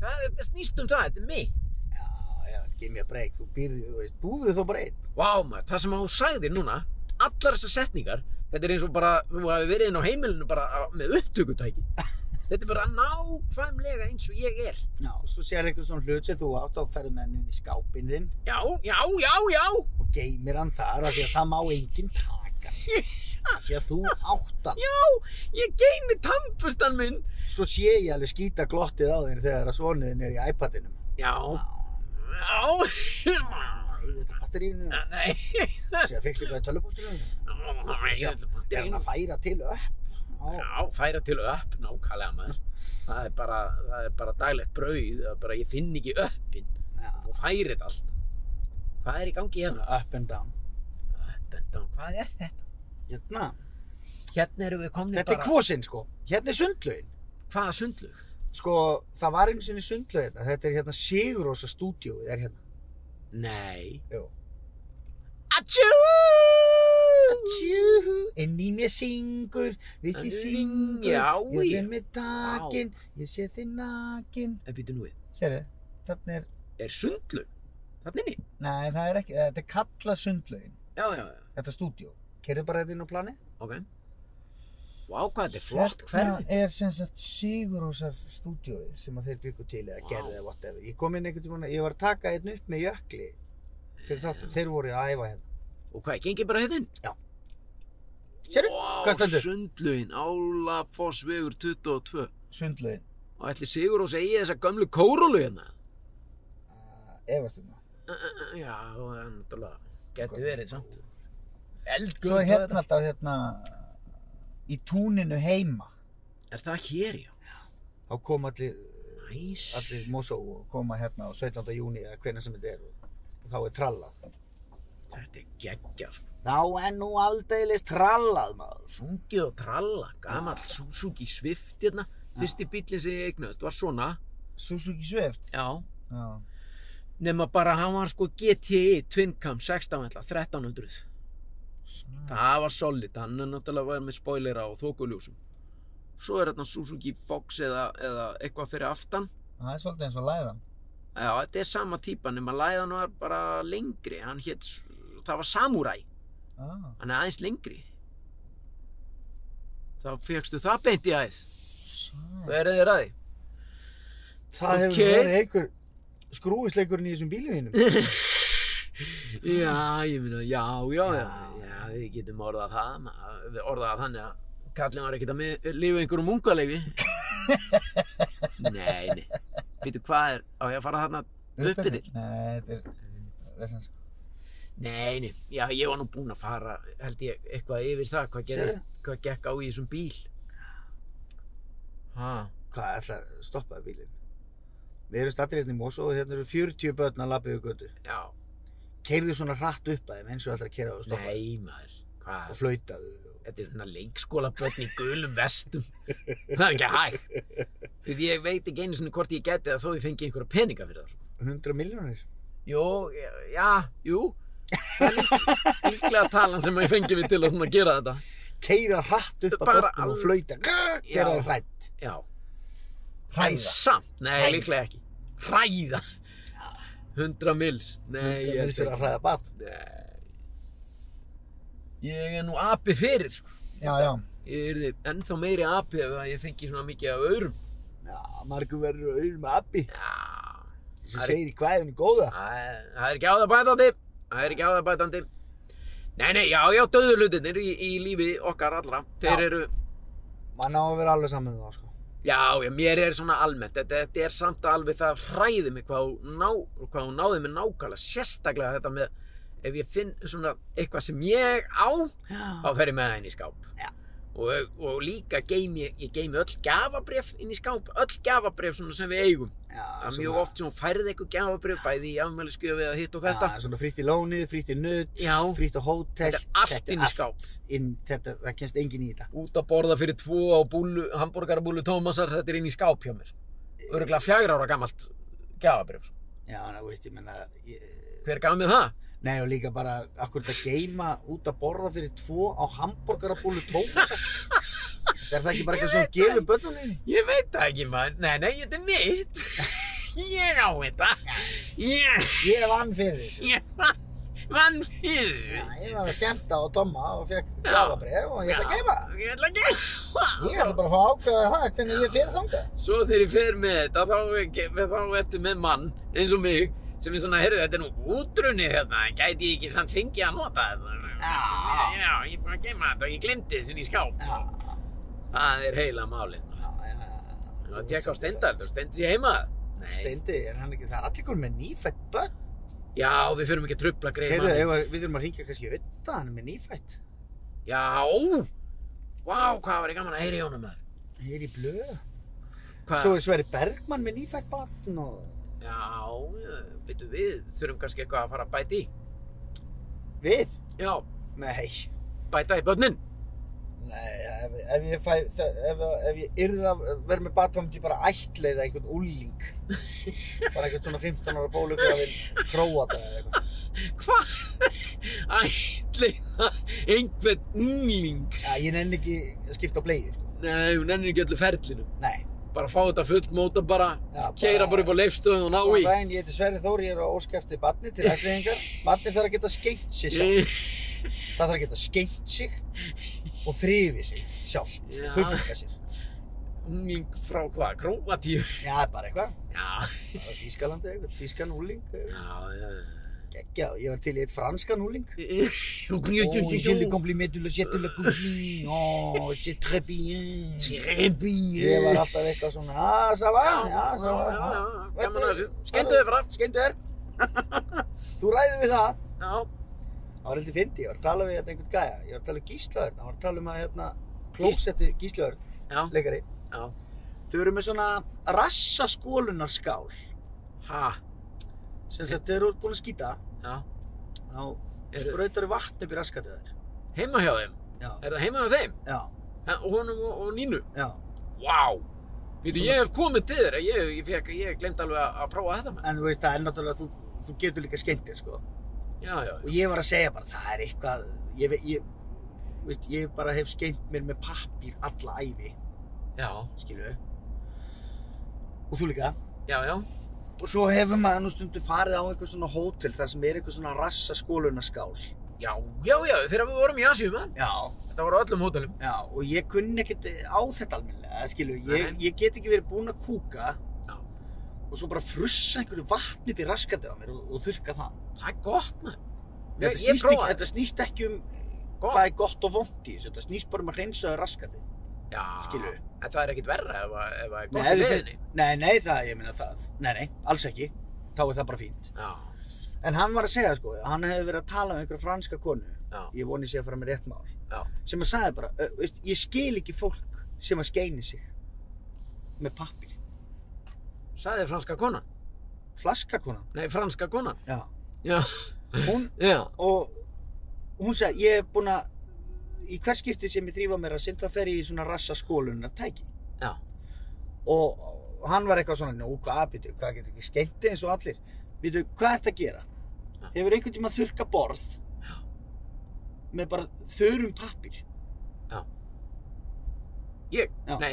Speaker 1: Það, þetta snýst um það, þetta er mitt.
Speaker 2: Já, já, gef mér breyk, þú býrði, þú veist, búðu þó bara einn.
Speaker 1: Vá maður, það sem hún sagði núna, allar þessar setningar, þetta er eins og bara, þú hafi verið inn á heimilinu bara á- með upptökutæki. Þetta er bara nákvæmlega eins og ég er.
Speaker 2: Já, svo sér eitthvað svona hlut sem þú átt á ferðmennin í skápinn þinn
Speaker 1: Já, já, já, já,
Speaker 2: og geymir hann þar af því að það má enginn taka. Af Því að þú átt hann.
Speaker 1: já, ég geymi tampustan minn.
Speaker 2: Svo sé ég alveg skýta glottið á þér þegar að svonuðin er í iPadinum.
Speaker 1: Já, já,
Speaker 2: Þetta batterínu,
Speaker 1: nei,
Speaker 2: sé að fyrst eitthvað í tölvupústunum.
Speaker 1: já,
Speaker 2: Það er hann að færa til upp á
Speaker 1: Já, færa til upp nákvæmlega maður. Það er bara, það er bara daglegt brauð, það er bara ég finn ekki uppin
Speaker 2: Já,
Speaker 1: og færi þetta allt. Hvað er í gangi hérna?
Speaker 2: svona up and down
Speaker 1: Up and down, hvað er þetta?
Speaker 2: hérna,
Speaker 1: Hérna erum við komni
Speaker 2: þetta er kvosinn sko hérna er sundlaugin
Speaker 1: Hvaða sundlug?
Speaker 2: sko, það var einu sinni sundlaugin þetta er hérna Sigurósa stúdíóið er hérna
Speaker 1: Nei.
Speaker 2: Jú.
Speaker 1: Atjú!
Speaker 2: Tjú, inn í mér syngur vill ég syngur
Speaker 1: Já,
Speaker 2: ég
Speaker 1: já.
Speaker 2: er með takin ég sé þið nakin
Speaker 1: En býtu Eh, nú við.
Speaker 2: sérðu, þarna er
Speaker 1: Er sundlug? Þannig inni?
Speaker 2: nei, það er ekki, þetta er kalla sundlaugin
Speaker 1: Já, já, já.
Speaker 2: þetta stúdíó Kerðu bara þetta inn á plani?
Speaker 1: Ok. Vá, hvað þetta er flott hverfi.
Speaker 2: Þetta Hérna er sem sagt Sigurósar stúdíóið sem að þeir byggu til eða
Speaker 1: Vá.
Speaker 2: gerðu eða whatever. Ég kom inn einhvern tímann, ég var að taka einn upp með jökli fyrir þáttum.
Speaker 1: Eh.
Speaker 2: Þeir voru að æfa hérna.
Speaker 1: Og hvað, gengið bara hérna?
Speaker 2: Já. Sérðu?
Speaker 1: Vá,
Speaker 2: Hvað stendur?
Speaker 1: sundlugin, Álafossvegur 22.
Speaker 2: Sundlaugin.
Speaker 1: Og ætli Sigur og segi þessa gömlu kórólu hérna? Eh,
Speaker 2: Uh, efast um það.
Speaker 1: Uh, uh, uh, Já, það er náttúrulega. Gæti verið samt.
Speaker 2: Svo
Speaker 1: Eldgöld
Speaker 2: er hérna alltaf hérna í túninu heima.
Speaker 1: Er það hér, já?
Speaker 2: Þá kom allir,
Speaker 1: Næs.
Speaker 2: allir Mosó og koma hérna á 17. júni eða hvernig sem þetta er og þá er trallað.
Speaker 1: Þetta er geggjað. sko.
Speaker 2: Ná en nú aldeilis trallað maður.
Speaker 1: Sungið og tralla, gamall Suzuki Swift hérna. Fyrsti bíllinn sem ég eignaðist var svona.
Speaker 2: Suzuki Swift.
Speaker 1: Já.
Speaker 2: Já.
Speaker 1: Nefna bara hann var sko GTI Twin Cam 16 ætla, 1300. Það var solid, hann er náttúrulega var með spoilera og þokuljúsum. Svo er þarna Suzuki Fox eða, eða eitthvað fyrir aftan.
Speaker 2: Það er svolítið eins og læðan.
Speaker 1: Já, þetta er sama típan, nema læðan var bara lengri. Hann hétt, s- það var Samurai,
Speaker 2: Ah.
Speaker 1: hann er aðeins lengri. Þá fegstu það beint í aðeins. Verðið þér að því?
Speaker 2: Það hefur
Speaker 1: Ok.
Speaker 2: verið einhver skrúisleikurinn í þessum bílum þínum.
Speaker 1: Já, ég meina, já, já, já,
Speaker 2: Já.
Speaker 1: já, við getum orðað það, ma- við orðað það þannig að kallin var ekkert að mið- lifa einhverjum ungaleifi. nei, nei, veitu hvað er, á ég að fara þarna uppið til?
Speaker 2: Nei, þetta er... sko. Vesens.
Speaker 1: Nei, nei, já, ég var nú búinn að fara, held ég, eitthvað yfir það, hvað gerist, hvað gekk á í þessum bíl. Ha,
Speaker 2: Hvað ætlar stoppaði bílinn? Við erum stattir hérna í Mosó og hérna eru 40 börn að lappa yfir götu.
Speaker 1: já,
Speaker 2: Keirðu svona hratt upp að þeim eins og ætlar að keira og stoppa
Speaker 1: nei, maður,
Speaker 2: og
Speaker 1: hvað,
Speaker 2: flautaðu.
Speaker 1: þetta er svona leikskólabörn í gulum vestum, það er ekki hægt. Þú veit, ég veit ekki einu sinni hvort ég geti það þó ég fengi einhverja peninga fyrir það. sko.
Speaker 2: 100 miljónir.
Speaker 1: Jú, já, jú, það er lík- líklega talan sem ég fengi við til að svona gera þetta.
Speaker 2: Keira hratt upp að
Speaker 1: Bara
Speaker 2: börnum og
Speaker 1: alveg-
Speaker 2: flauta. Grrr, Gera
Speaker 1: Já.
Speaker 2: þeim hrætt.
Speaker 1: Já, En
Speaker 2: Hræða.
Speaker 1: samt, nei,
Speaker 2: Hræða.
Speaker 1: líklega ekki. Hræða. 100 mils. Nei,
Speaker 2: Það
Speaker 1: ég
Speaker 2: er
Speaker 1: held
Speaker 2: sér
Speaker 1: ekki.
Speaker 2: að hræða barn.
Speaker 1: Nei. Ég er nú api fyrir, sko.
Speaker 2: Já, já.
Speaker 1: Ég er ennþá meiri api ef að ég fengi svona mikið af öðrum.
Speaker 2: Já, margur verður auður með abbi.
Speaker 1: Já,
Speaker 2: Sem
Speaker 1: Það er-
Speaker 2: segir í kvæðinu góða.
Speaker 1: það það er ekki á það bætandi. Það er ekki á það bætandi. Nei, nei, já, já, döðulutinir í, í lífi okkar allra. Þeir
Speaker 2: Já.
Speaker 1: eru,
Speaker 2: Man á að vera alveg saman með það, sko.
Speaker 1: já, já, mér er svona almennt. Þetta, þetta er samt alveg það hræði mig hvað hún, ná, hvað hún náði mig nákvæmlega. Sérstaklega þetta með, ef ég finn svona eitthvað sem ég á, þá fer ég með það inn í skáp
Speaker 2: Já.
Speaker 1: og, og líka geymi ég, ég geymi öll gafabref inn í skáp öll gafabref svona sem við eigum
Speaker 2: Já,
Speaker 1: það er
Speaker 2: svona-
Speaker 1: mjög oft sem hún færði eitthvað gafabref bæði í afmælisgjöfi eða hitt og þetta
Speaker 2: Já, svona frítt í lónið, frítt í nutt,
Speaker 1: Já.
Speaker 2: frítt á hótel.
Speaker 1: Þetta er allt sko. inn í skáp.
Speaker 2: Inn, þetta, það kemst engin í þetta.
Speaker 1: út að borða fyrir tvo á búlu, hambúrgarabúlu Tómasar þetta er inn í skáp hjá mér sko. örgulega fjagra ára gamalt gafabref sko.
Speaker 2: Já, ná, veist, ég menna, ég...
Speaker 1: hver gaf mér það?
Speaker 2: Nei, og líka bara, akkur þetta geima út að borða fyrir tvo á hambúrgarabúlu tómasa. Þetta er það ekki bara
Speaker 1: Ég
Speaker 2: eitthvað sem
Speaker 1: veit það
Speaker 2: gefur
Speaker 1: ekki.
Speaker 2: börnunni?
Speaker 1: ég veit það ekki maður, nei nei þetta er mitt ég á þetta ég,
Speaker 2: Ég vann fyrir þessu.
Speaker 1: ég vann- vann fyrir
Speaker 2: Já,
Speaker 1: því.
Speaker 2: ég var að skemmta og domma og fekk
Speaker 1: Já.
Speaker 2: gafabref og ég ætla að geima það.
Speaker 1: ég ætla að gefa það.
Speaker 2: Ég ætla bara að fá að ákveða það hvernig ég fyrir þangað.
Speaker 1: Svo þegar ég fer með þetta, þá, ekki- þá ertu með mann eins og mig sem er svona, heyrðu, þetta er nú útrunnið hérna, en gæti ég ekki samt fengið að nota þetta?
Speaker 2: Já.
Speaker 1: Já, ég er bara að geima þetta og ég glemdi þessin í skáp.
Speaker 2: Já,
Speaker 1: Það er heila málið. maður.
Speaker 2: já, já, já.
Speaker 1: Það er að tekka á steindald og steindi sér heima. Nei.
Speaker 2: Steindi, er hann ekki, það er allir konur með nýfætt börn.
Speaker 1: Já, við fyrirum ekki að trubla greið
Speaker 2: Heyrðu,
Speaker 1: manni.
Speaker 2: ef að- við þurfum að ringja kannski auðvitað, hann er með nýfætt.
Speaker 1: Já, vá, hvað var ég gaman að heyra í honum maður.
Speaker 2: Ég er í blöð.
Speaker 1: Hvað?
Speaker 2: Svo er Sverri Bergmann með nýfætt barn og
Speaker 1: Já, byrju við, þurfum kannski eitthvað að fara að bæta í.
Speaker 2: við.
Speaker 1: Já,
Speaker 2: Nei,
Speaker 1: bæta í börnin.
Speaker 2: nei, ef, ef ég fæ, það- ef, ef ég yrði að vera með barn, þá myndi ég bara ætleiða einhvern úlling. bara einhvern svona 15 ára bólugur að við króa það eða eitthvað.
Speaker 1: Hvað? Ætli það einhvern ungling?
Speaker 2: Já, ég nenni ekki að skipta á bleið, sko.
Speaker 1: Nei, hún ennir ekki öllu ferlinu.
Speaker 2: Nei.
Speaker 1: Bara fá þetta fullmóta bara,
Speaker 2: Já, bara-
Speaker 1: keira bara upp á leifstöðun og ná
Speaker 2: Góðan
Speaker 1: í.
Speaker 2: daginn, ég heiti Sverri Þór, ég er að óska eftir barni til ætliðingar. Barni þarf að geta skeitt sér sjálf. Það þarf að geta skeitt sig og þrifið sig sjálft
Speaker 1: Já.
Speaker 2: og þurrka sér.
Speaker 1: Ungling frá hvað? Króatíu?
Speaker 2: Já, bara eitthvað.
Speaker 1: Já,
Speaker 2: Bara Þýskalandi eitthvað, þýskan úling.
Speaker 1: já, já.
Speaker 2: Gekkja, ég var til í eitt franskan úling.
Speaker 1: Jú, jú,
Speaker 2: Ó,
Speaker 1: jú,
Speaker 2: je
Speaker 1: jú,
Speaker 2: le
Speaker 1: jú.
Speaker 2: compliment, le jette le compliment. Ó, c'est très bien.
Speaker 1: Treppi.
Speaker 2: Ég var alltaf eitthvað svona, ah, ça va, já, ça va.
Speaker 1: já, já, já.
Speaker 2: Þetta-
Speaker 1: Gaman að þessu. Skemmtu þér bara.
Speaker 2: Skemmtu þér. Þú ræðir við það.
Speaker 1: Já,
Speaker 2: Það var heldur fyndi, ég var að tala við hérna einhvern gæja, ég var að tala um gíslaður, hann var að tala um að hérna klósetti gíslaður,
Speaker 1: Já,
Speaker 2: leikari.
Speaker 1: já.
Speaker 2: Þau eru með svona rassaskólunarskál,
Speaker 1: Ha,
Speaker 2: sem sagt þau eru búin að skýta,
Speaker 1: já.
Speaker 2: þá
Speaker 1: Eru-
Speaker 2: sprautar þau vatn upp í raskatöður.
Speaker 1: Heima hjá þeim.
Speaker 2: Já,
Speaker 1: Er það heima hjá þeim?
Speaker 2: já,
Speaker 1: Ha, Honum og, og Nínu.
Speaker 2: já.
Speaker 1: Vá. Við þú, ég hef komið til þeirra. Ég, ég, fekk, ég glemt alveg að, að prófa þetta með.
Speaker 2: En þú veist, það er náttúrulega, þú, þú getur líka skemmt þér, sko.
Speaker 1: Já, já,
Speaker 2: Og ég var að segja bara, það er eitthvað, ég, ve- ég, þú veist, ég bara hef skemmt mér með pappír alla ævi,
Speaker 1: já.
Speaker 2: skilu. Og þú líka.
Speaker 1: Já, já.
Speaker 2: Og svo hefur maður nú stundu farið á einhver svona hótel þar sem er einhver svona rassaskólunaskál.
Speaker 1: Já, já, já. Þegar við vorum í Asíum, mann.
Speaker 2: Já.
Speaker 1: Þetta voru á öllum hótelum.
Speaker 2: Já, og ég kunni ekkert á þetta almennilega, skilu. Ég,
Speaker 1: Nei.
Speaker 2: ég get ekki verið búinn að kúka
Speaker 1: Já.
Speaker 2: og svo bara frussa einhverju vatn upp í raskatið á mér og, og þurka það.
Speaker 1: Það er gott, mann.
Speaker 2: Þetta
Speaker 1: Ég, ég
Speaker 2: snýst, ekki,
Speaker 1: prófaði.
Speaker 2: þetta snýst ekki um
Speaker 1: Gott.
Speaker 2: hvað er gott og vond í þessu, þetta snýst bara um að hreinsa raskatið,
Speaker 1: Já.
Speaker 2: skilurðu.
Speaker 1: En það er ekkit verra ef, að- ef að er gott
Speaker 2: Nei,
Speaker 1: í
Speaker 2: ef þið-
Speaker 1: leiðinni.
Speaker 2: Nei, nei, það, ég meina það, nei, nei, alls ekki, þá er það bara fínt.
Speaker 1: Já,
Speaker 2: En hann var að segja, sko, hann hefði verið að tala um einhverja franska konu,
Speaker 1: já,
Speaker 2: ég voni sé að fara með rétt mál,
Speaker 1: já.
Speaker 2: sem að sagði bara, "Ö, veist, ég skil ekki fólk sem að skeini sig með pappir.
Speaker 1: Saði franska konan.
Speaker 2: Flaska konan,
Speaker 1: Nei, franska konan.
Speaker 2: já.
Speaker 1: Já,
Speaker 2: Hún,
Speaker 1: já,
Speaker 2: og hún sagði, ég er búin að, í hver skipti sem ég þrýfa mér að sinn, þá fer ég í svona rassaskólunar tæki.
Speaker 1: já.
Speaker 2: og hann var eitthvað svona, nú hvað, býtu, hvað getur ekki skemmti eins og allir, býtu, hvað ert að gera?
Speaker 1: Já.
Speaker 2: Hefur einhvern tíma þurka borð
Speaker 1: Já.
Speaker 2: með bara þörum pappir?
Speaker 1: Ég?
Speaker 2: Já.
Speaker 1: Nei.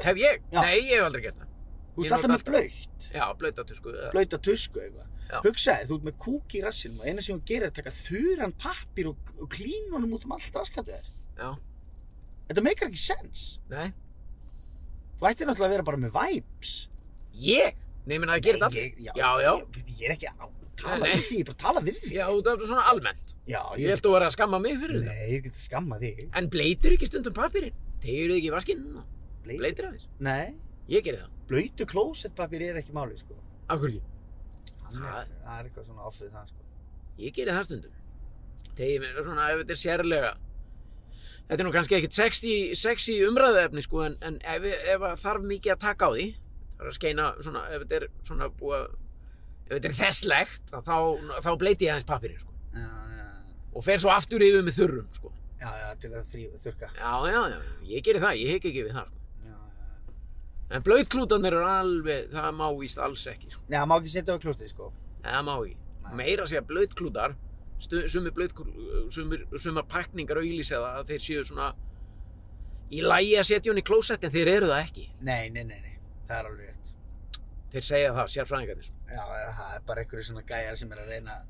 Speaker 1: Hef ég?
Speaker 2: Já.
Speaker 1: Nei, ég hef aldrei gert það.
Speaker 2: Þú
Speaker 1: Ég
Speaker 2: ert alltaf
Speaker 1: nota
Speaker 2: með blöytt,
Speaker 1: Já, blöytatusku. eða-
Speaker 2: blöytta tusku eitthvað.
Speaker 1: Já.
Speaker 2: Hugsaðir, þú ert með kúk í rassinum og eina sem hún gerir er að taka þurran pappir og, og klín honum út um allt raskatið þér.
Speaker 1: Já.
Speaker 2: Þetta meikar ekki sens.
Speaker 1: Nei.
Speaker 2: Þú ættir náttúrulega að vera bara með vibes.
Speaker 1: Ég? Nei, minna það gerir
Speaker 2: Nei,
Speaker 1: það.
Speaker 2: ég, já,
Speaker 1: Já, já.
Speaker 2: Ég, ég er ekki að
Speaker 1: Nei,
Speaker 2: tala
Speaker 1: nei.
Speaker 2: við því, ég er bara að tala við því.
Speaker 1: Já, það er svona almennt.
Speaker 2: Já,
Speaker 1: Ég held að vera að skamma mig fyrir það.
Speaker 2: Nei, ég get að skamma þig.
Speaker 1: En bleitir ekki stundum pappirinn? Þeir eru ekki í vaskinn og
Speaker 2: Blei-
Speaker 1: bleitir aðeins.
Speaker 2: Nei,
Speaker 1: Ég gerir það.
Speaker 2: blöytu klósettpapir er ekki máli, sko.
Speaker 1: Af hverju ekki?
Speaker 2: Hann
Speaker 1: Það-
Speaker 2: er, það er eitthvað svona offið það, sko.
Speaker 1: Ég gerir það stundum. Þegar mér svona, ef þetta er sérlega. Þetta er nú kannski ekkit sexy, sexy umræðuefni, sko, en, en ef, ef að þarf mikið að taka á því, það er að skeina svona, ef þetta er svona búið að, ef þetta er þesslegt, þá, þá, þá bleiti ég aðeins pappirinn, sko.
Speaker 2: Já, já,
Speaker 1: og fer svo aftur yfir með þurrum sko.
Speaker 2: já, já, til að þrýfa, þurka.
Speaker 1: já, já, já, ég gerir það, ég heik ekki við það sko.
Speaker 2: Já, já.
Speaker 1: en blöytklútanir eru alveg, það má víst alls ekki sko.
Speaker 2: Nei, það má ekki setja á klóstið, sko.
Speaker 1: Nei, það má ekki,
Speaker 2: Nei.
Speaker 1: meira að segja blöytklútar sumir blöytklútar sumir, sumar pakningar auðlýsa það að þeir séu svona í lægi að setja hún í klósett en þeir eru það ekki
Speaker 2: Nei, nei, nei, nei, það er alveg rétt.
Speaker 1: þeir segja það, sérfræðingarnir sko.
Speaker 2: Já, já, það er bara einhverju svona gæjar sem er að reyna.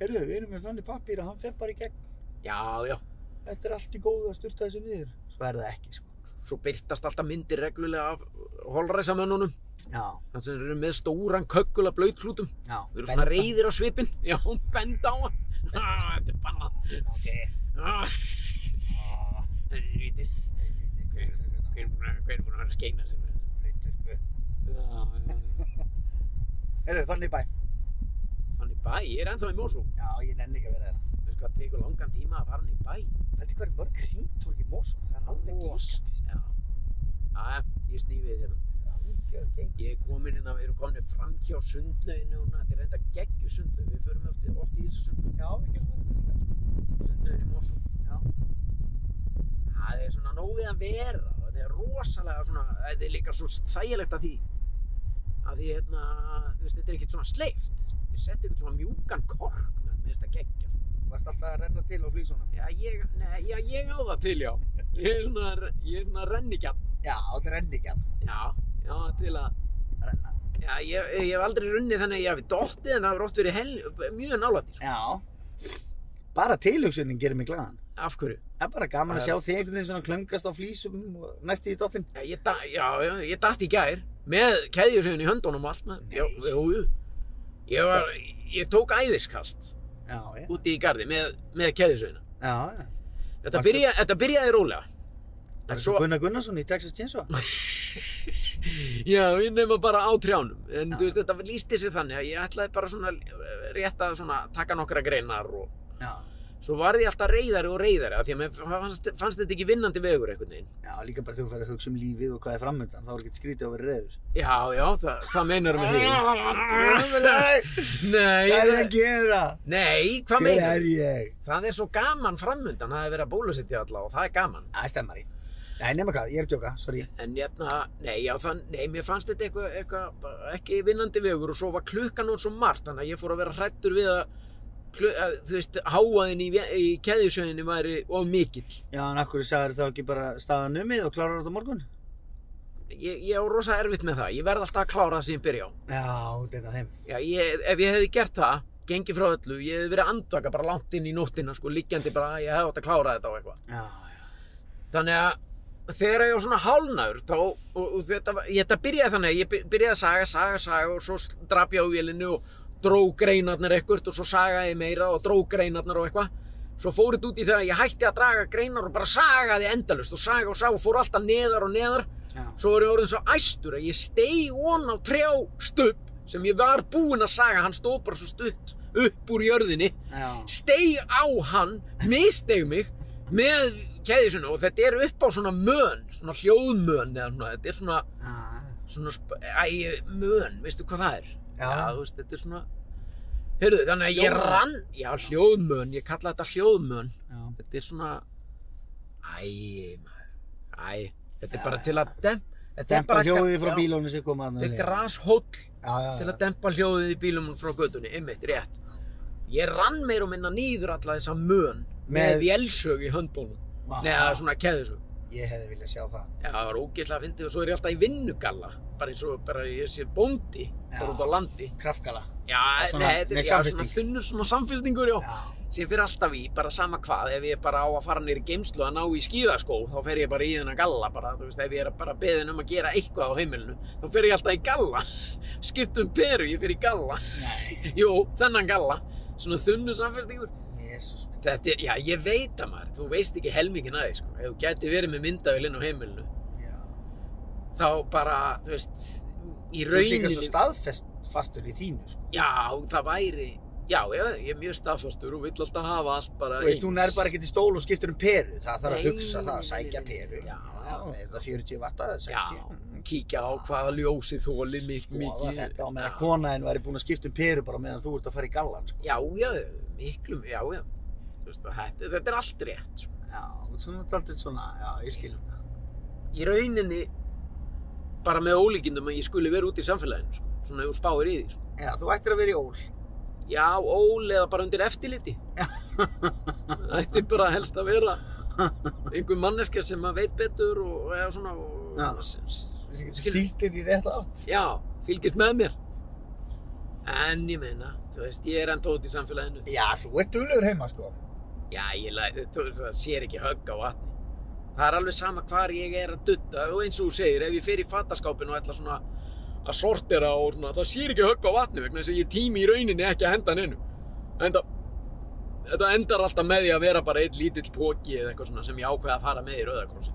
Speaker 2: Herðu, við erum með þannig pappir að hann fer bara í gegn.
Speaker 1: já, já,
Speaker 2: Þetta er allt í góðu að styrta þessu niður. Svo er það ekki, sko.
Speaker 1: svo byrtast alltaf myndir reglulega af holræsamönnunum
Speaker 2: Já,
Speaker 1: þannig sem eru með stóran kökkul af blöytklútum
Speaker 2: já.
Speaker 1: Við erum svona
Speaker 2: benda.
Speaker 1: reyðir á svipin. Já, hún benda á hann. Ah, Þetta er bannað.
Speaker 2: Ok.
Speaker 1: Ah,
Speaker 2: Ah,
Speaker 1: helvíti.
Speaker 2: helviti, hvað er þetta?
Speaker 1: Hver er búinn að- hver er búinn að vera að skeina sér með þessu?
Speaker 2: Blautur, sko.
Speaker 1: Já,
Speaker 2: Herðu, fann í bæ.
Speaker 1: Hann í bæ, ég er ennþá í Mosó.
Speaker 2: Já, ég nenni ekki að vera hérna.
Speaker 1: Þú veist hvað, tekur langan tíma að fara hann í bæ.
Speaker 2: Veldi hvað er mörg hringtorg í Mosó? Það er alveg gískast.
Speaker 1: Já. Æ, ég snífið hérna.
Speaker 2: Algjör geimis.
Speaker 1: Ég er komin hérna, við erum komin fram hjá sundlauginu núna. Þetta er reynda geggju sundlaug. Við förum oft, oft í þessu sundlaug.
Speaker 2: Já, við gerum það þetta líka.
Speaker 1: Sundlauginu í Mosó.
Speaker 2: Já.
Speaker 1: Það er svona nóg við að vera þetta er rosalega svona þetta er líka svo þægilegt að því að því hérna þú veist, þetta er ekkert svona sleift ég setti ekkert svona mjúkan kork með minnst að gegja
Speaker 2: Varst alltaf að renna til á flýsunum.
Speaker 1: já ég, nei, já, ég á það til já ég er svona, ég er svona rennigjarn
Speaker 2: Já, þetta renni ekki að
Speaker 1: já, já til að
Speaker 2: renna.
Speaker 1: já, ég, ég hef aldrei runnið þannig að ég hafi dottið en það hefur oft verið hel, mjög nálætti sko.
Speaker 2: Já. Bara tilhugsunin gerir mig glaðan.
Speaker 1: af hverju
Speaker 2: Það er bara gaman að
Speaker 1: Það
Speaker 2: sjá
Speaker 1: er-
Speaker 2: þig einhvern veginn svona klöngast á flýsum og næst í dottinn.
Speaker 1: já, ég, da, já, já, ég datt í gær með keðjusögun í höndunum og allt maður.
Speaker 2: Nei.
Speaker 1: já, jú, jú. ég var ég tók æðiskast
Speaker 2: Já, já.
Speaker 1: úti í gardi með, með keðisauðina.
Speaker 2: Já, já.
Speaker 1: Þetta,
Speaker 2: Varstu-
Speaker 1: byrja, þetta byrjaði rólega.
Speaker 2: Það er
Speaker 1: svo-
Speaker 2: svo Gunnar Gunnarsson í Texas Chainsaw.
Speaker 1: Já, ég nema bara á trjánum. En
Speaker 2: Já.
Speaker 1: þú veist, þetta lísti sér þannig að ég ætlaði bara svona eh, rétt að svona taka nokkra greinar og,
Speaker 2: Já.
Speaker 1: svo varð ég alltaf reyðari og reyðari af því að mér fannst, fannst þetta ekki vinnandi vegur einhvern veginn
Speaker 2: Já, líka bara þegar þú færði að hugsa um lífið og hvað er framöndan, þá er ekkert skrítið að vera reyður.
Speaker 1: já, já, það, það meinar með því
Speaker 2: Nei,
Speaker 1: nei,
Speaker 2: Hvað er að gera?
Speaker 1: nei, hvað
Speaker 2: Hver
Speaker 1: meinar
Speaker 2: er ég?
Speaker 1: það er svo gaman framundan það er verið að bólusetja alla og það er gaman
Speaker 2: Æ, stemmari. Nei, nema hvað, ég er að djóka, sorry.
Speaker 1: en jæna, nei, já, þann, nei, mér fannst þetta eitthvað eitthva, ekki vinnandi vegur og svo var klukkan og svo margt, þannig að ég fór að vera hrættur við að, klu, að þú veist, háaðin í, ve- í keðjusöginni væri of mikill.
Speaker 2: Já, en akkur sagður þá ekki bara staðan numið og klárar þetta á morgun?
Speaker 1: Ég, ég á rosa erfitt með það, ég verð alltaf að klára það sem ég byrja á.
Speaker 2: Já, þetta er þeim.
Speaker 1: Já, ég, ef ég hefði gert það, gengið frá öllu, ég hefði verið andvaka bara langt inn í nóttina, sko, liggjandi bara, ég hefði átt að klára þetta og eitthvað.
Speaker 2: Já,
Speaker 1: Þannig að þegar ég var svona hálnaður þá, og, og þetta, var- ég, þetta byrjaði þannig að ég by- byrjaði að saga, saga, saga og svo s- drap ég á vélinu og dró greinarnar ekkert og svo sagaði ég meira og dró greinarnar og eitthvað svo fór þetta út í þegar ég hætti að draga greinar og bara sagaði endalust og saga og saga og fór alltaf neðar og neðar
Speaker 2: já.
Speaker 1: svo var ég orðin svo æstur að ég steig von á trjá stöpp sem ég var búinn að saga hann stóð bara svo stutt upp úr jörðinni
Speaker 2: Já.
Speaker 1: steig á hann, misteig mig með keðisuna og þetta er upp á svona mön, svona hljóðmön eða svona, þetta er svona, svona sp- æ, mön, veistu hvað það er?
Speaker 2: Já.
Speaker 1: þú veist, þetta er svona, heyrðu, þannig að ég
Speaker 2: Hljóðmön.
Speaker 1: rann, já, hljóðmön, ég kalla þetta hljóðmön,
Speaker 2: Já.
Speaker 1: þetta er svona, æ, maður, æ, þetta er bara til að dem, þetta er
Speaker 2: Dempa
Speaker 1: bara,
Speaker 2: hljóðið frá
Speaker 1: já,
Speaker 2: bílónu sem kom að
Speaker 1: Þetta er grashóll
Speaker 2: Já, já,
Speaker 1: til
Speaker 2: já.
Speaker 1: að dempa hljóðið í bílum frá götunni, einmitt, rétt. Ég rann meir og minna nýður alla þessa mön með Ah.
Speaker 2: Með-
Speaker 1: vélsög í höndunum.
Speaker 2: Vá.
Speaker 1: Nei, það er svona keðisög.
Speaker 2: Ég hefði viljað sjá það.
Speaker 1: Já, það var ógeðslega fyndið og svo er ég alltaf í vinnugalla. Bara eins og bara ég sé bóndi, bara út á landi.
Speaker 2: Kraftkala.
Speaker 1: Já,
Speaker 2: er svona-
Speaker 1: nei, þetta
Speaker 2: nei,
Speaker 1: er já, svona
Speaker 2: samfesting.
Speaker 1: þunnur svona samfestingur, já.
Speaker 2: Já.
Speaker 1: Sem ég fyrir alltaf í, bara sama hvað, ef ég bara á að fara nýri geimslu að ná í skíðaskó, þá fer ég bara í þennan galla bara, þú veist, ef ég er bara beðin um að gera eitthvað á heimilinu, þá fer ég alltaf í galla, skipt um peru, ég fer í galla.
Speaker 2: Nei.
Speaker 1: Jú, þennan galla, svona þunnu samfélstingur.
Speaker 2: Jésús.
Speaker 1: Þetta er, já, ég veit að maður, þú veist ekki helmingin að því, sko. Ef þú gæti verið með myndavél inn á heimilinu,
Speaker 2: Já.
Speaker 1: þá bara, þú veist, í
Speaker 2: Þú ert líka
Speaker 1: rauninni...
Speaker 2: svo staðfest fastur í þínu, sko.
Speaker 1: Já, það væri, já, já, ég er mjög staðfastur og vill alltaf hafa allt bara
Speaker 2: Þú veist, hún er bara ekki til stól og skiptir um peru. Það þarf að
Speaker 1: Nei,
Speaker 2: hugsa það,
Speaker 1: nei,
Speaker 2: sækja
Speaker 1: nei, nei,
Speaker 2: peru.
Speaker 1: já,
Speaker 2: já. Er það 40 watt að
Speaker 1: Já,
Speaker 2: 60?
Speaker 1: kíkja á hvaða ljósið þóli mikið.
Speaker 2: Skoða þetta og meðan
Speaker 1: Já.
Speaker 2: konaðin væri búin að skipta um peru bara meðan þú ert að fara í gallan, sko.
Speaker 1: Já, já, miklu, já, já. Þú veist, þetta, þetta er allt rétt, sko.
Speaker 2: Já, þú ert svona daldið svona, já, ég skil þetta.
Speaker 1: í rauninni bara með ólíkindum að ég skuli vera út í samfélaginu sko. svona ef þú spáir í því sko.
Speaker 2: Já, þú ættir að vera í ól.
Speaker 1: já, ól eða bara undir eftirliti þetta er bara helst að vera einhver manneska sem að veit betur og eða svona og,
Speaker 2: Já.
Speaker 1: sem- sem- skil-
Speaker 2: Stíltir í rétt átt.
Speaker 1: já, fylgist með mér en ég meina þú veist, ég er ennþá út í samfélaginu
Speaker 2: Já, þú ert duglegur heima, sko.
Speaker 1: já, ég læ, þú, veist, það sér ekki högg á vatni það er alveg sama hvar ég er að dutta og eins og þú segir, ef ég fer í fattarskápin og ætla svona að sortera og svona, það sér ekki högg á vatni vegna þess að ég tími í rauninni ekki að henda hann innu enda, þetta endar alltaf með því að vera bara einn lítill póki eða eitthvað svona sem ég ákveða að fara með í rauðakrossi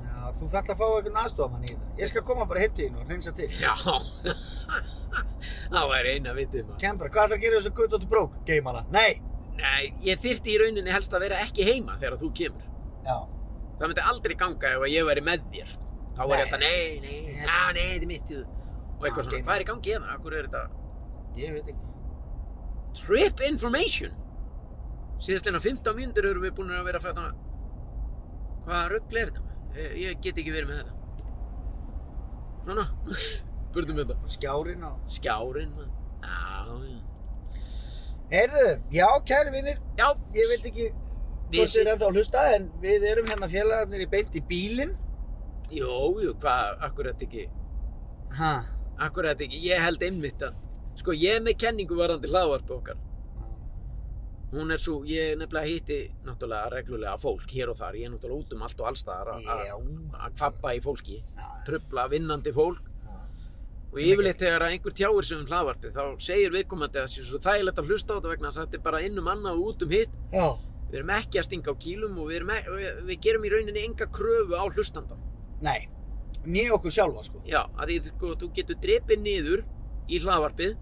Speaker 2: Já, þú þarft að fá einhvern aðstofamann í þetta. Ég skal koma bara heim til þín og hreinsa til.
Speaker 1: já það væri eina vitið maður
Speaker 2: Kembra, hvað ætlar að gera þessu gutt og brók? Geima hana. Nei!
Speaker 1: nei, ég þyrfti í rauninni helst að vera ekki heima þegar þú kemur
Speaker 2: Já.
Speaker 1: það myndi aldrei ganga ef að ég væri með þér sko. þá væri
Speaker 2: Nei.
Speaker 1: ég alltaf nei, nei,
Speaker 2: Nei.
Speaker 1: já, nei, þetta er mitt þú. og
Speaker 2: Já,
Speaker 1: eitthvað svona,
Speaker 2: geimur.
Speaker 1: hvað er í gangi hérna, hvað er þetta
Speaker 2: Ég veit ekki.
Speaker 1: trip information síðastlega 15 mínútur erum við búin að vera að fæta hvaða rugl er þetta ég, ég get ekki verið með þetta svona, burðum þetta
Speaker 2: Skjárin á.
Speaker 1: skjárin man. já, já.
Speaker 2: Heyrðu, já, kæri vinnir,
Speaker 1: já,
Speaker 2: ég veit ekki
Speaker 1: Við
Speaker 2: hvort þið er ennþá að hlusta en við erum hérna félagarnir í beint í bílinn.
Speaker 1: jú, jú, hvað, akkur þetta ekki
Speaker 2: Hæ?
Speaker 1: akkur þetta ekki, ég held einmitt að sko, ég er með kenningu varandi hlaðvarp okkar hún er svo, ég nefnilega hitti náttúrulega reglulega fólk hér og þar ég er náttúrulega út um allt og allstaðar að- að-
Speaker 2: Já.
Speaker 1: að kvappa í fólki
Speaker 2: Já.
Speaker 1: trubla vinnandi fólk
Speaker 2: Já.
Speaker 1: og yfirleitt þegar að einhver tjáir sig um hlaðvarpið þá segir viðkomandi að það sé svo þægilegt að hlusta á þetta vegna þess að þetta er bara inn um annað og út um hitt
Speaker 2: Já.
Speaker 1: við erum ekki að stinga á kýlum og við, erum ekki, við, við gerum í rauninni enga kröfu á hlustanda
Speaker 2: Nei, nýja okkur sjálfa sko.
Speaker 1: já, að því sko, þú getur drepið niður í hlaðvarpið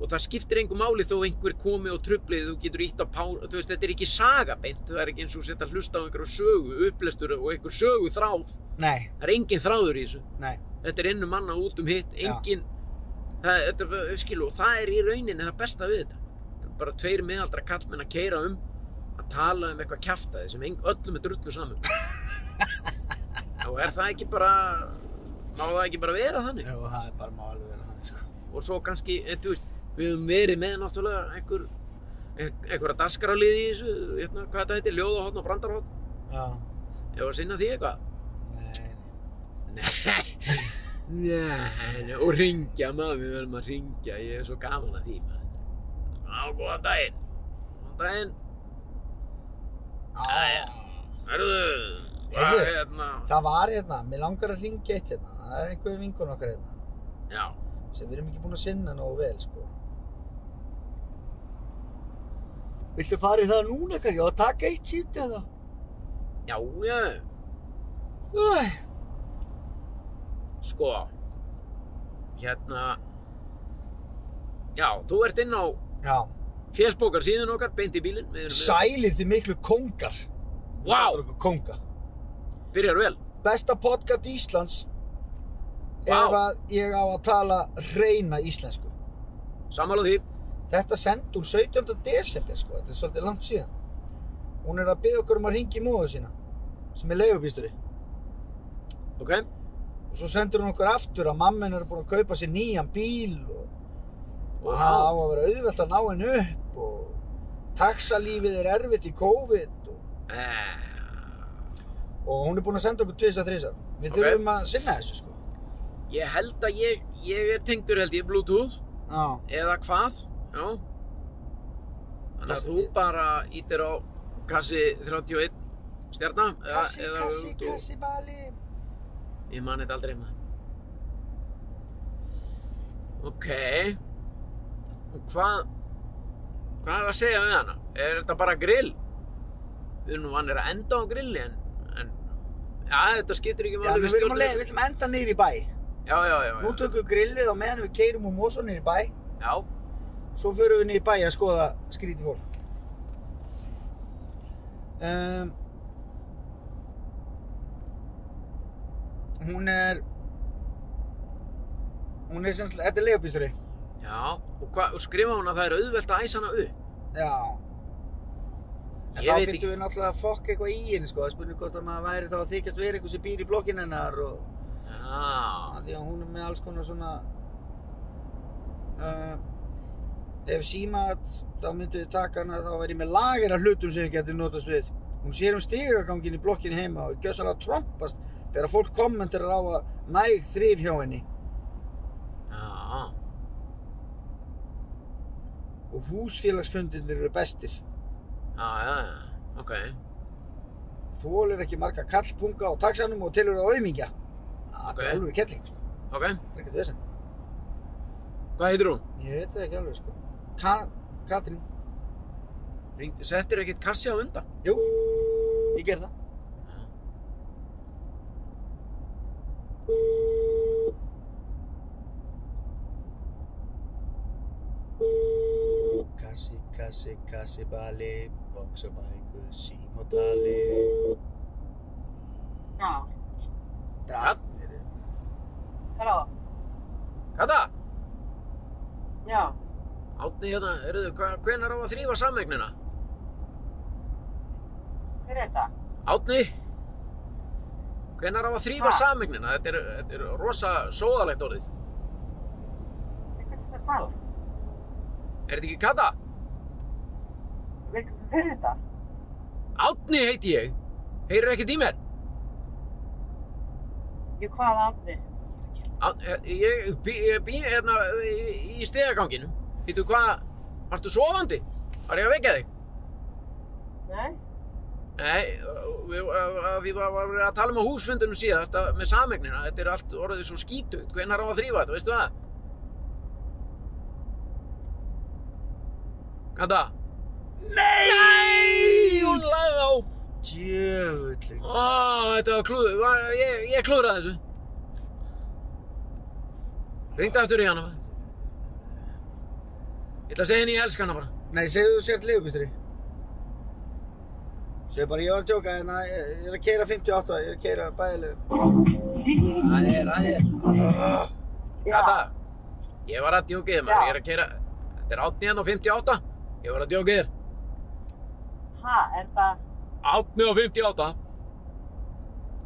Speaker 1: og það skiptir engu máli þó einhver komi og trublið, þú getur ítt á pár, þú veist, þetta er ekki sagabeint, það er ekki eins og setja að hlusta á einhverju sögu, upplestur og einhver sögu þráð,
Speaker 2: Nei,
Speaker 1: það er engin þráður í þessu,
Speaker 2: nei,
Speaker 1: þetta er innum manna út um hitt,
Speaker 2: Já.
Speaker 1: engin, það, þetta, skilu, og það er í rauninni það besta við þetta, Þetta eru bara tveir miðaldra kallmenn að keira um, að tala um eitthvað kjaftaði sem eng, öllum er drullu saman, og er það ekki bara, má það ekki bara vera þannig?
Speaker 2: Jú, það er bara má alveg vera þannig sko.
Speaker 1: og svo kannski, en, þú veist, við höfum verið með náttúrulega einhver, ein- einhverja daskaraliði í þessu, hérna, hvað þetta heitir, ljóðahotn og brandarhotn,
Speaker 2: Já,
Speaker 1: ef að sinna því eitthvað.
Speaker 2: nei,
Speaker 1: Nei, nei, og ringja maður, við verðum að ringja, ég er svo gaman að því maður. Á, góðan daginn, góðan daginn,
Speaker 2: nei.
Speaker 1: Jæja. verðu, hvað
Speaker 2: Heyrðu.
Speaker 1: er hérna,
Speaker 2: Ah. Það var hérna, mér langar að ringja eitt hérna, það er einhver vinkun okkar hérna
Speaker 1: já,
Speaker 2: sem við erum ekki búin að sinna nógu vel sko. Viltu fara í það núna kannski og taka eitt sínt eða?
Speaker 1: já, já,
Speaker 2: Æ,
Speaker 1: sko, hérna, já, þú ert inn á
Speaker 2: Já,
Speaker 1: Fésbókar síðan okkar, beint í bílinn, við erum með,
Speaker 2: sælir þið miklu kongar.
Speaker 1: Vá!
Speaker 2: Þetta er okkur Konga.
Speaker 1: byrjar vel.
Speaker 2: Besta podcast Íslands
Speaker 1: Vá.
Speaker 2: ef að ég á að tala reyna íslensku.
Speaker 1: Sammála því.
Speaker 2: Þetta sendi hún 17. desember sko, þetta er svolítið langt síðan. Hún er að byggja okkur um að ringi móðu sína, sem er leigubýsturi.
Speaker 1: Ok,
Speaker 2: Og svo sendur hún okkur aftur að mamma hennar er búin að kaupa sér nýjan bíl og, og það á
Speaker 1: wow.
Speaker 2: að vera auðvelt að ná henn upp og taxalífið er erfitt í COVID og,
Speaker 1: Eh,
Speaker 2: og hún er búin að senda okkur tvis og þrisar. Við
Speaker 1: Ok.
Speaker 2: þurfum að sinna þessu sko.
Speaker 1: ég held að ég, ég er tengdur held ég Bluetooth
Speaker 2: Já.
Speaker 1: eða hvað, já. Þannig að þú bara ítir á kassi 31 stjarna. eða-
Speaker 2: Kassi,
Speaker 1: eða
Speaker 2: kassi,
Speaker 1: út og-
Speaker 2: kassi, bali.
Speaker 1: Ég man þetta aldrei maður. Ok. Og hvað, hvað er að segja við hana? Er þetta bara grill? Við erum nú vannir að enda á grilli en, en já, þetta skiptir ekki
Speaker 2: Já,
Speaker 1: máli
Speaker 2: við viljum að
Speaker 1: stjórnum.
Speaker 2: leið, við viljum enda niður í bæ.
Speaker 1: Já, já, já.
Speaker 2: Nú
Speaker 1: já.
Speaker 2: tökum við grillið á meðan við keyrum úr Mosó niður í bæ.
Speaker 1: Já,
Speaker 2: Svo förum við niður í bæ að skoða skrítið fólk. Um, hún er... Hún er sem sagt... Þetta er leigubýsturri.
Speaker 1: já. Og, hva, og skrifa hún að það er auðvelt að æsa hana upp.
Speaker 2: Já. En
Speaker 1: Ég
Speaker 2: þá
Speaker 1: veit
Speaker 2: þyrftum
Speaker 1: ekki.
Speaker 2: við náttúrulega að fokka eitthvað í henni, sko. Það spurning hvort að maður væri þá að þykjast verið eitthvað sem býr í blokkinn hennar og...
Speaker 1: Já,
Speaker 2: Af því að hún er með alls konar svona... Uh, ef símat, þá myndu við taka hana, þá væri ég með lager af hlutum sem ég geti notast við. Hún sér um stigagangin í blokkinni heima og gjössan að trompast þegar fólk kommentar á að næg þrif hjá henni
Speaker 1: já.
Speaker 2: og húsfélagsfundinir eru bestir.
Speaker 1: Já, já, já. Ok.
Speaker 2: Þólir ekki marga kallpunga á taxanum og telur að auðmingja. Það
Speaker 1: Ok.
Speaker 2: er alveg kettling, sko.
Speaker 1: Ok.
Speaker 2: Það er ekkert vesen.
Speaker 1: Hvað heitir hún?
Speaker 2: Ég veit það ekki alveg, sko. Ka Katrín.
Speaker 1: Ringd, settir ekkert kassi á undan?
Speaker 2: Jú, ég ger það. Kassi, kassi, kassi, bali, boxabækur, símotali.
Speaker 3: Já,
Speaker 2: Drafnir eru.
Speaker 3: halló,
Speaker 1: Kata?
Speaker 3: já,
Speaker 1: Átni hérna, eruðu, hvenar á að þrýfa sammeignina?
Speaker 3: hver er þetta?
Speaker 1: Átni? Hvenar á að þrýfa
Speaker 3: Ha?
Speaker 1: sammeignina? Þetta er, þetta er rosa sóðalegt orðið.
Speaker 3: Við hvernig þetta tala?
Speaker 1: Er þetta ekki Kata?
Speaker 3: Við hver er þetta?
Speaker 1: Átni heiti ég. Heyrir ekkert í mér?
Speaker 3: Ég hvað afni?
Speaker 1: Át, eh, ég býð hérna í- í stegaganginu. Vittu hvað, varstu sofandi? Var ég að vekja þig?
Speaker 3: Nei?
Speaker 1: Nei, við, að því var var verið að tala um á húsfundunum síðast að, með sameignina. Þetta er allt orðið svo skítugt. Hvenar á að þrýfa þetta, veistu það? Kata? Nei! Hún lagði á.
Speaker 2: Djöfulli.
Speaker 1: Ó, þetta var klúður. Var, ég, ég klúðraði þessu. Ringdu aftur í hana. Ég ætla að segja henni ég elska hana bara.
Speaker 2: Nei, segðu þú sért leigubílstjóri. Segðu bara, ég var að tjóka, en ég ég er að keira 58, ég er að keira bæðilegu.
Speaker 1: Það er, það er.
Speaker 3: Já.
Speaker 1: Kata, ég var að djókið þér maður.
Speaker 3: Já.
Speaker 1: Ég er að keira, þetta er 18 og 58. Ég var að djókið þér.
Speaker 3: Ha, er það
Speaker 1: 18 og 58.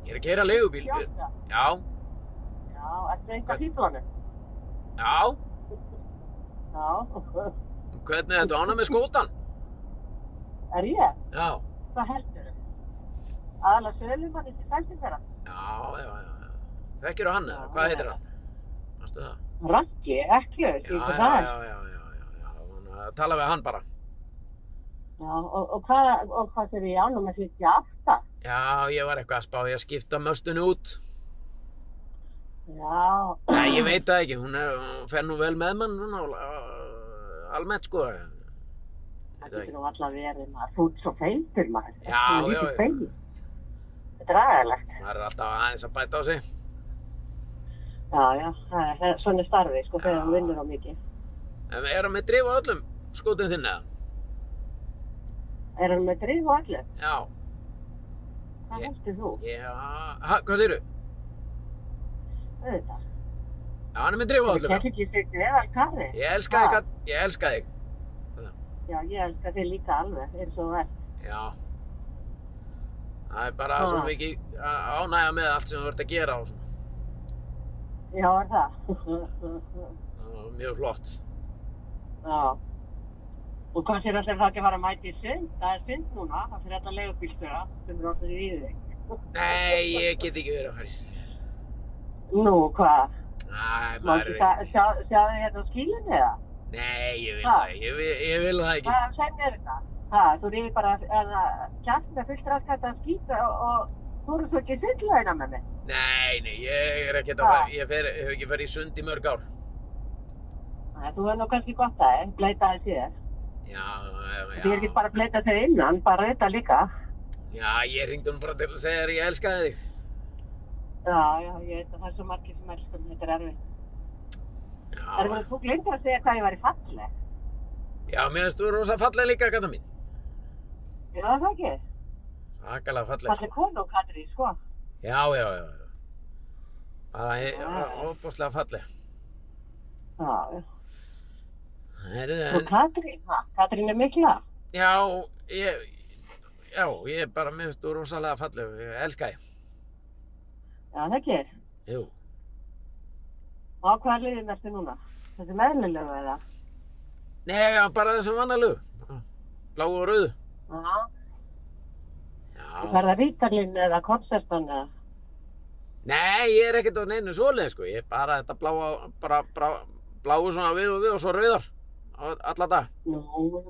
Speaker 1: Ég er að keira leigubíl.
Speaker 3: fjóta?
Speaker 1: Já,
Speaker 3: Já, ertu eitthvað fítlunum?
Speaker 1: já.
Speaker 3: Já.
Speaker 1: Hvernig er þetta ána með skótan?
Speaker 3: Er ég?
Speaker 1: Já,
Speaker 3: Hvað heldur þau? Aðalega sölumann í því fæltum þeirra.
Speaker 1: já, já, já. Þekkir hann eða? Hvað heitir hann? Vastu það?
Speaker 3: Raggi, ekklu,
Speaker 1: Já,
Speaker 3: því
Speaker 1: já,
Speaker 3: hvað
Speaker 1: já,
Speaker 3: það
Speaker 1: já,
Speaker 3: er.
Speaker 1: já, já, já. Þannig að tala við hann bara.
Speaker 3: Já, og, og hvað, og hvað þegar ég ánum að sýtja aftar?
Speaker 1: Já, ég var eitthvað að spá ég að skipta möstunni út.
Speaker 3: Já.
Speaker 1: Nei, ég veit það ekki. Hún, er, hún fer nú vel með mann, svona, á- almennt sko.
Speaker 3: Það getur nú alltaf verið maður, þú ert svo feitur maður.
Speaker 1: Já,
Speaker 3: Þú ert
Speaker 1: já,
Speaker 3: lítið
Speaker 1: já.
Speaker 3: feitur. Þetta er aðalegt.
Speaker 1: Það er alltaf aðeins að bæta á sig.
Speaker 3: Já, já, það er- það er svona starfið, sko,
Speaker 1: Já.
Speaker 3: þegar þú vinnur á mikið.
Speaker 1: En við erum með drifu á öllum skotum þinn eða?
Speaker 3: Er hann með drif og allir?
Speaker 1: Já.
Speaker 3: Hvað
Speaker 1: Ég-
Speaker 3: heldur þú?
Speaker 1: Já, ha, hvað segirðu?
Speaker 3: Auðvitað.
Speaker 1: Já, hann er með drifu á
Speaker 3: Þú
Speaker 1: öllum.
Speaker 3: kemur
Speaker 1: já.
Speaker 3: ekki sig eða karri.
Speaker 1: Ég elska þig,
Speaker 3: Ha?
Speaker 1: Kat- ég elska þig.
Speaker 3: Já, ég elskar þig líka alveg, eins og það er.
Speaker 1: Já. Það er bara svo
Speaker 3: Ha.
Speaker 1: mikið að ánægja með allt sem þú ert að gera og svona.
Speaker 3: Já, er það.
Speaker 1: Það er Mjög flott.
Speaker 3: já. Og hvað sér allir það ekki að fara að mæta í sund? Það er sund núna, það fyrir alltaf leigubílstöra sem eru alltaf í þig.
Speaker 1: Nei, ég get ekki verið að fara í sund.
Speaker 3: Nú, hvað?
Speaker 1: Næ, maður
Speaker 3: Máttu
Speaker 1: er
Speaker 3: það- sjá- Sjáðu hérna á skílinni það?
Speaker 1: Nei, ég vil
Speaker 3: Ha?
Speaker 1: það ekki. Ég vil, ég vil það ekki.
Speaker 3: Hvað sem er þetta? Ha, þú reyðir bara að kjast með fullt raskat að skýta og, og þú eru svo ekki sundlauna með mig.
Speaker 1: Nei, nei, ég er ekkert að
Speaker 3: Ha?
Speaker 1: fara, ég fer, ég hef ekki farið í sund í mörg ár.
Speaker 3: Æ, Þú er nú kannski gott aðeins, bleita aðeins ég.
Speaker 1: Já, já, já.
Speaker 3: Þú er ekki bara að bleita þig innan, bara þetta líka.
Speaker 1: Já, ég ringdi hún bara til að segja þér ég elska þig.
Speaker 3: Já, já, ég veit að það er svo margir sem elskum, þetta er erfið.
Speaker 1: Já,
Speaker 3: Erfið, þú glemtir að segja hvað ég væri falleg.
Speaker 1: já, mér finnst þú rosa falleg líka, gata mín.
Speaker 3: Já, það ekki.
Speaker 1: Akalega falleg. sko.
Speaker 3: Falleg konu og Katri, sko.
Speaker 1: Já, já, já. já. Bara, ég, óbúslega falleg.
Speaker 3: Já, já.
Speaker 1: Heyrðu,
Speaker 3: Og
Speaker 1: en,
Speaker 3: Katrín, ha, Katrín er mikla.
Speaker 1: já, ég, já, ég er bara, mér finnst þú rosalega falleg. Ég elska þig.
Speaker 3: Já, það ekki.
Speaker 1: Jú.
Speaker 3: Á hvaða liðin ertu núna? Þetta er meðlilegu eða?
Speaker 1: Nei, já, bara þessum vannalögu. Bláu og rauðu.
Speaker 3: Já.
Speaker 1: Já.
Speaker 3: Verða rítalinn eða konsertan eða?
Speaker 1: Nei, ég er ekkert á neinu svoleið, sko. Ég er bara þetta bláa, bara, bara bláu svona við og við og svo rauðar. á- Alla dag.
Speaker 3: Nú,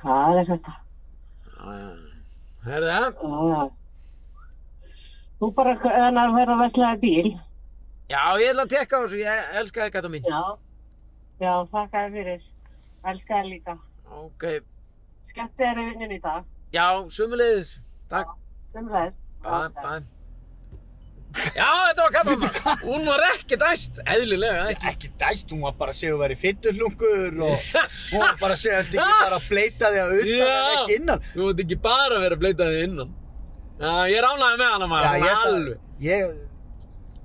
Speaker 3: hvað er þetta?
Speaker 1: Já, já. Herðu það?
Speaker 3: Já, já. Þú bara en að vera að veslaði bíl.
Speaker 1: Já, ég ætla að tekka á þessu. Ég elska þig, gata mín.
Speaker 3: Já. Já, þakka þér fyrir. Elska þér líka.
Speaker 1: Ok.
Speaker 3: Skemmt þér í vinnin í dag.
Speaker 1: Já, sumulegðis. Takk.
Speaker 3: Sumræðis.
Speaker 1: Bæ, bæ. Já, þetta var kata maður. Hún var ekki dæst. Eðlilega, ekki.
Speaker 2: Ekki dælt, hún var bara að segja að vera í fittullungur og hún var bara að segja að þetta ekki bara að bleita þig að utan en
Speaker 1: Já.
Speaker 2: ekki innan.
Speaker 1: Þú vart ekki bara að vera að bleita þig innan. Já, ég ránaði með hana maður.
Speaker 2: ég,
Speaker 1: hún er
Speaker 2: ætla-
Speaker 1: alveg.
Speaker 2: ég,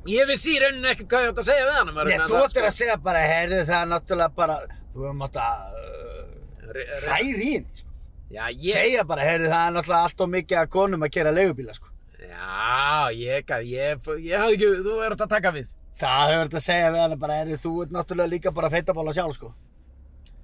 Speaker 1: Ég vissi í rauninni ekkert hvað ég átt að segja við hann um
Speaker 2: nei, þú ættir að segja bara, herðu það er náttúrulega bara, þú hefum átt að uh,
Speaker 1: segja
Speaker 2: hræri í henni, sko.
Speaker 1: sko. Já, ég
Speaker 2: Segja bara, herðu það er náttúrulega allt of mikið að konum að kera leigubíla, sko.
Speaker 1: Já, ég gat- Ég f- ég hafði ekki Þú ert að taka við
Speaker 2: Það hefur þetta að segja við hana bara, herðu þú ert náttúrulega líka bara feitabála sjálf, sko.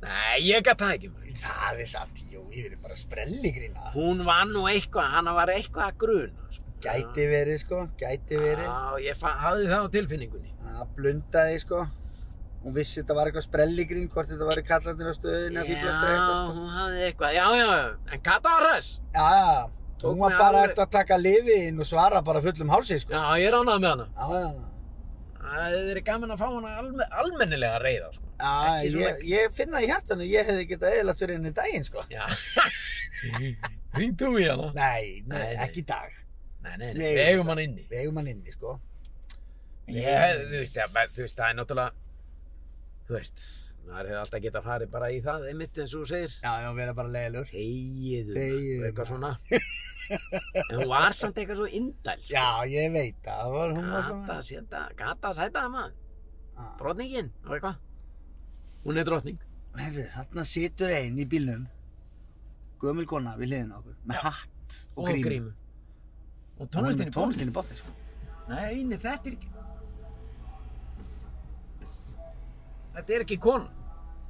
Speaker 1: Nei, ég gæti það ekki maður.
Speaker 2: Það er satt, jú, ég verið bara sprelligrína.
Speaker 1: Hún var nú eitthvað Hanna var eitthvað að gruna sko.
Speaker 2: Gæti verið, sko, gæti verið.
Speaker 1: Já, ég fa- hafði það á tilfinningunni
Speaker 2: Það blundaði sko Hún vissi þetta var eitthvað sprelligrín Hvort þetta var í kallandir á stöðinu
Speaker 1: Já,
Speaker 2: að fíblastræði eitthvað sko
Speaker 1: hún hafði eitthvað Já, já, já. en Kata var hress
Speaker 2: Já, já,
Speaker 1: Tók
Speaker 2: hún
Speaker 1: mig
Speaker 2: var bara
Speaker 1: alveg-
Speaker 2: eftir að taka lifi inn og svara bara fullum hálsi sko
Speaker 1: Já, ég ránaði með hana
Speaker 2: Já, já,
Speaker 1: Það hefði verið gaman að fá hana alme almennilega að reyða sko.
Speaker 2: já,
Speaker 1: Ekki svona-
Speaker 2: ég, ég finna í hjartanu Ég hefði getað eðilagt fyrir henni í daginn sko
Speaker 1: Já Hring þú í hana
Speaker 2: Nei, nei,
Speaker 1: Nei, nei.
Speaker 2: ekki í dag
Speaker 1: Nei, nei, nei,
Speaker 2: Nei.
Speaker 1: við eigum hann inni
Speaker 2: Við eigum hann inni sko
Speaker 1: Ég, þú veist, það, þú veist, það er náttúrulega, þú veist, Það hefði alltaf getað farið bara í það, einmitt eins og þú segir.
Speaker 2: Já, já, vera bara leiðilegur.
Speaker 1: Þegiðu,
Speaker 2: Þegiðu,
Speaker 1: og eitthvað svona. en hún var samt eitthvað svo indæl. sko.
Speaker 2: Já, ég veit það, það var hún var
Speaker 1: Gata,
Speaker 2: svona.
Speaker 1: senda, gata, sæta það maður.
Speaker 2: Ah,
Speaker 1: Drotningin og eitthvað. Hún er drotning.
Speaker 2: Herru, Ah. þarna situr einn í bílnum, gömul kona við hliðin á okkur, með hatt og grím.
Speaker 1: Og
Speaker 2: Hún er
Speaker 1: tónlistin
Speaker 2: með
Speaker 1: í bóð.
Speaker 2: Tónlistin í bótti, sko.
Speaker 1: Nei, nei, þetta er ekki... Þetta er ekki kona.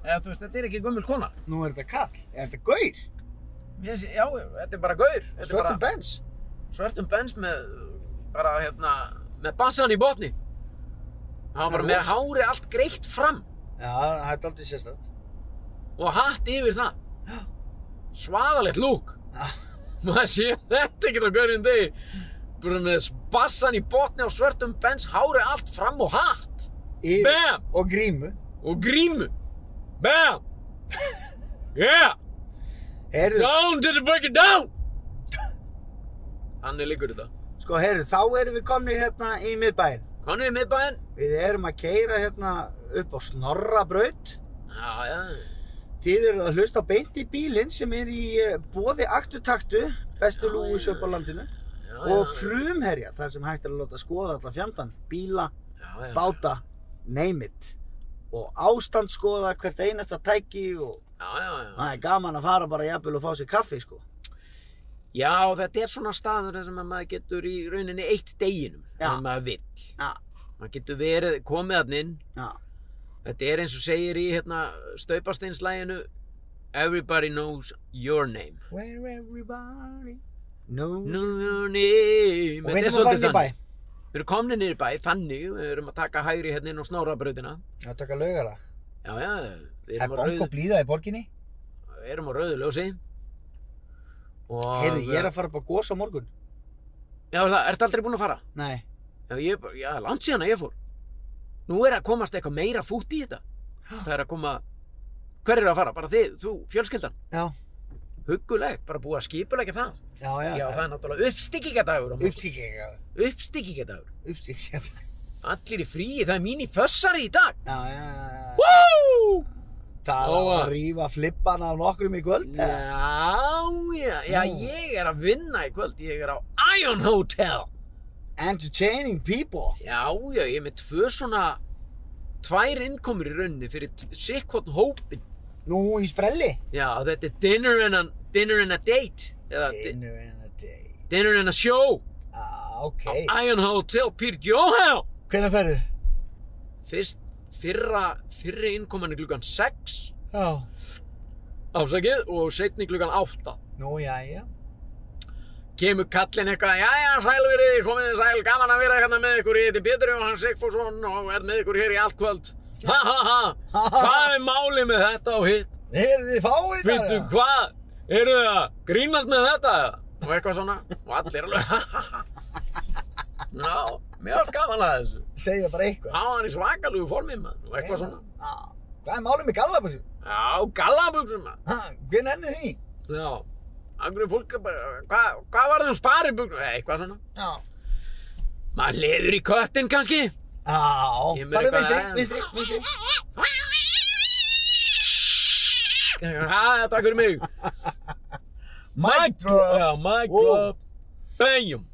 Speaker 1: Eða þú veist, þetta er ekki gömul kona.
Speaker 2: Nú er þetta kall, er þetta gaur?
Speaker 1: Mér sé, já, já, þetta er bara gaur. Þetta er bara
Speaker 2: Svörtum bens?
Speaker 1: svörtum bens með, bara, hérna, með bassan í botni. Hann var bara
Speaker 2: Það er
Speaker 1: með hári allt greitt fram
Speaker 2: Já, það er aldrei sérstætt.
Speaker 1: og hatt yfir það. Svaðalegt lúk.
Speaker 2: Já.
Speaker 1: Maður sé þetta ekkert á gaurinn degi. Bara með bassan í botni og svörtum bens, hári allt fram og hatt.
Speaker 2: Yfir-
Speaker 1: Bam!
Speaker 2: Og grímu.
Speaker 1: og grímu BAM Yeah
Speaker 2: Herru,
Speaker 1: Down to the break it down Þannig liggur þetta
Speaker 2: sko, herru, þá erum við komni hérna í miðbæinn.
Speaker 1: Konur í miðbæinn
Speaker 2: Við erum að keira hérna upp á Snorrabraut.
Speaker 1: Já, já
Speaker 2: Þið eru að hlusta á beint í bílinn sem er í eh, boði aktutaktu, bestu
Speaker 1: Já,
Speaker 2: lúi
Speaker 1: já.
Speaker 2: söp á landinu.
Speaker 1: Já,
Speaker 2: Og
Speaker 1: já,
Speaker 2: frumherja, þar sem hægt er að láta skoða alla fjandann. Bíla,
Speaker 1: já, já.
Speaker 2: báta, name it. Og ástand skoða hvert einasta tæki og
Speaker 1: Já, já, já
Speaker 2: það er gaman að fara bara jafnvel og fá sér kaffi, sko.
Speaker 1: Já, þetta er svona staður þar sem að maður getur í rauninni eitt deginum
Speaker 2: Já.
Speaker 1: ef maður vill
Speaker 2: Já,
Speaker 1: Maður getur verið, komið hann inn
Speaker 2: já,
Speaker 1: Þetta er eins og segir í hérna staupasteinslæginu Everybody knows your name
Speaker 2: Where everybody knows
Speaker 1: Know your name Þetta er
Speaker 2: Og við erum að fara
Speaker 1: svolítið
Speaker 2: inn í bæ
Speaker 1: þannig. Við erum komni niður í bæ, þannig, við erum að taka hægri hérna inn á snárabrautina.
Speaker 2: Já, taka laugara
Speaker 1: Já, já, við
Speaker 2: Það
Speaker 1: erum,
Speaker 2: er
Speaker 1: á
Speaker 2: bóng
Speaker 1: rauðu,
Speaker 2: og blíða í borginni
Speaker 1: við erum á rauðu ljósi. Og...
Speaker 2: Heyrðu, ég er að fara upp á gos á morgun
Speaker 1: Já, er það, ertu aldrei búin að fara?
Speaker 2: Nei
Speaker 1: Já, ég, er bara- já, langt síðan að ég fór. Nú er að komast eitthvað meira fút í þetta. Það er að koma... Hver er að fara? Bara þið, þú, fjölskyldan.
Speaker 2: Já,
Speaker 1: Huggulegt, bara búið að skipulegja það.
Speaker 2: já, já,
Speaker 1: Já, það er náttúrulega uppstyggingadagur.
Speaker 2: Uppsíkja
Speaker 1: Uppstyggingadagur.
Speaker 2: Uppsíkja
Speaker 1: Allir í fríi, það er mín í fössari í dag.
Speaker 2: Já, já, já
Speaker 1: Woo!
Speaker 2: Það á
Speaker 1: Ó,
Speaker 2: að
Speaker 1: að-
Speaker 2: rífa flippan af nokkrum í kvöld eða?
Speaker 1: Já, já, já,
Speaker 2: Nú.
Speaker 1: ég er að vinna í kvöld, ég er á Ion Hotel.
Speaker 2: Entertaining people
Speaker 1: Já, já, ég er með tvö svona, tvær innkomur í rauninni fyrir t- sikkvotn hópin.
Speaker 2: Nú í sprelli
Speaker 1: Já, þetta er dinner and a, dinner and a date, eða dinner,
Speaker 2: Dinner and a day
Speaker 1: dinner and a show,
Speaker 2: Já, ok
Speaker 1: Ion Hotel, Pír Jóhel.
Speaker 2: Hvenær ferðu?
Speaker 1: Fyrst, fyrra, fyrri innkoman er klukkan 6,
Speaker 2: Já
Speaker 1: ásakið, og setni klukkan 8.
Speaker 2: Nú, já, já
Speaker 1: kemur kallinn eitthvað, jæja, sæl verið, þið, komið þið sæl, gaman að vera hérna með ykkur, ég heiti Pétur Jóhann Sigfússon og er með ykkur hér í allt kvöld. Ha ha ha, hvað er málið með þetta og hitt?
Speaker 2: Heyrðu þið fáið
Speaker 1: Vittu hvað, eru þið að grínast með þetta? eða? Og eitthvað svona, og allir alveg, ha ha ha. Já, mér varst gaman að þessu.
Speaker 2: Segja bara eitthvað
Speaker 1: Há hann í svakalugu formið maður, og eitthvað svona.
Speaker 2: Já, Hvað er málum í gallabuxum?
Speaker 1: Já, gallabuxum maður.
Speaker 2: Ha, Hver nenni því?
Speaker 1: Já, angriðu fólk er bara, hvað, hvað var þeim sparibuxum? Eitthvað svona.
Speaker 2: Já
Speaker 1: Maður leður í köttin kannski.
Speaker 2: Já,
Speaker 1: Kemur
Speaker 2: farið
Speaker 1: eitthvað
Speaker 2: vinstri,
Speaker 1: að-
Speaker 2: vinstri, vinstri
Speaker 1: Ha, takk fyrir mig.
Speaker 2: Mic drop.
Speaker 1: Já, mic
Speaker 2: Wow.
Speaker 1: drop. Bæjum.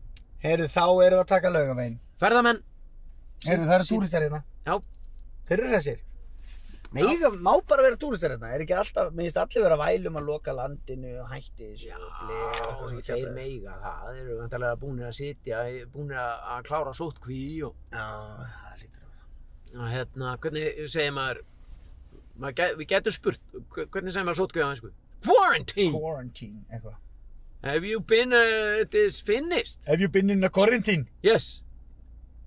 Speaker 2: Heyrðu, þá erum við að taka laugavegin
Speaker 1: Ferðamenn.
Speaker 2: Heyrðu, það eru túristar hérna
Speaker 1: Já,
Speaker 2: Þeir eru þessir Nei, það má bara vera túristar hérna Er ekki alltaf, minnst allir vera vælum að loka landinu og hætti þessu
Speaker 1: já
Speaker 2: og blið og eitthvað svona
Speaker 1: þeir
Speaker 2: kjaftæði.
Speaker 1: meiga það. Þeir eru vantarlega búinir að sitja, búinir að að klára sótkví og,
Speaker 2: Já, það lítur að vera
Speaker 1: og hérna, hvernig segir maður, maður get, við getum spurt, hver- hvernig segir maður sótkví á einsku? Quarantine!
Speaker 2: Quarantine, eitthvað
Speaker 1: Have you been, uh, it is finished?
Speaker 2: Have you been in a quarantine?
Speaker 1: Yes.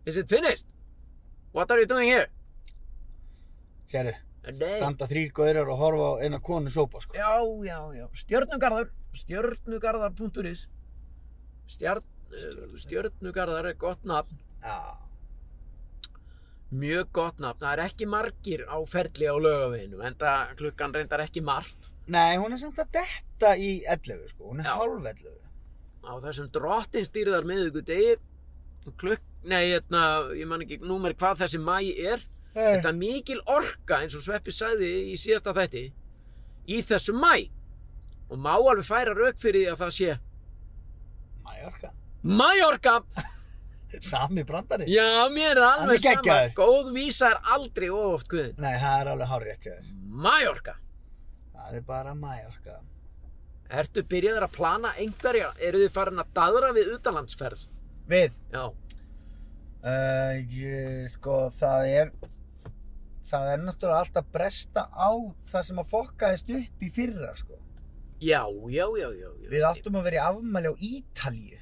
Speaker 1: Is it finished? What are you doing here?
Speaker 2: Sérðu,
Speaker 1: A day.
Speaker 2: standa þrýr góðrar og horfa á eina konu sópa, sko
Speaker 1: Já, já, já, stjörnugarður, stjörnugarðar.is Stjarn, Stjörn. Stjörnugarðar er gott nafn,
Speaker 2: Já,
Speaker 1: mjög gott nafn, það er ekki margir á ferli á lögaveginum, en það klukkan reyndar ekki margt
Speaker 2: nei, hún er samt að detta í 11, sko Hún er
Speaker 1: Já.
Speaker 2: hálf 11
Speaker 1: á þessum drottin stýrðar miðugudegi, klukk, nei, hérna, ég man ekki númer hvað þessi mæ er,
Speaker 2: Eh.
Speaker 1: Þetta er mikil orka eins og Sveppi sagði í síðasta þætti í þessu mæ og má alveg færa rauk fyrir því að það sé
Speaker 2: Eh, Mallorca.
Speaker 1: Mæorka,
Speaker 2: Sami brandari.
Speaker 1: já mér er
Speaker 2: Hann er
Speaker 1: alveg sama
Speaker 2: geggjaður.
Speaker 1: góð vísa er aldrei of oft guðin
Speaker 2: Nei, það er alveg hárétt hjá þér.
Speaker 1: Mæorka,
Speaker 2: Það er bara Mallorca.
Speaker 1: ertu byrjaður að plana einhverja, eru þið farin að daðra við utanlandsferð?
Speaker 2: Við,
Speaker 1: Já,
Speaker 2: uh, ég, sko, það er, það er náttúrulega allt að bresta á það sem að fokkaðist upp í fyrra, sko.
Speaker 1: já, já, já, já, já.
Speaker 2: Við áttum að vera í afmæli á Ítalíu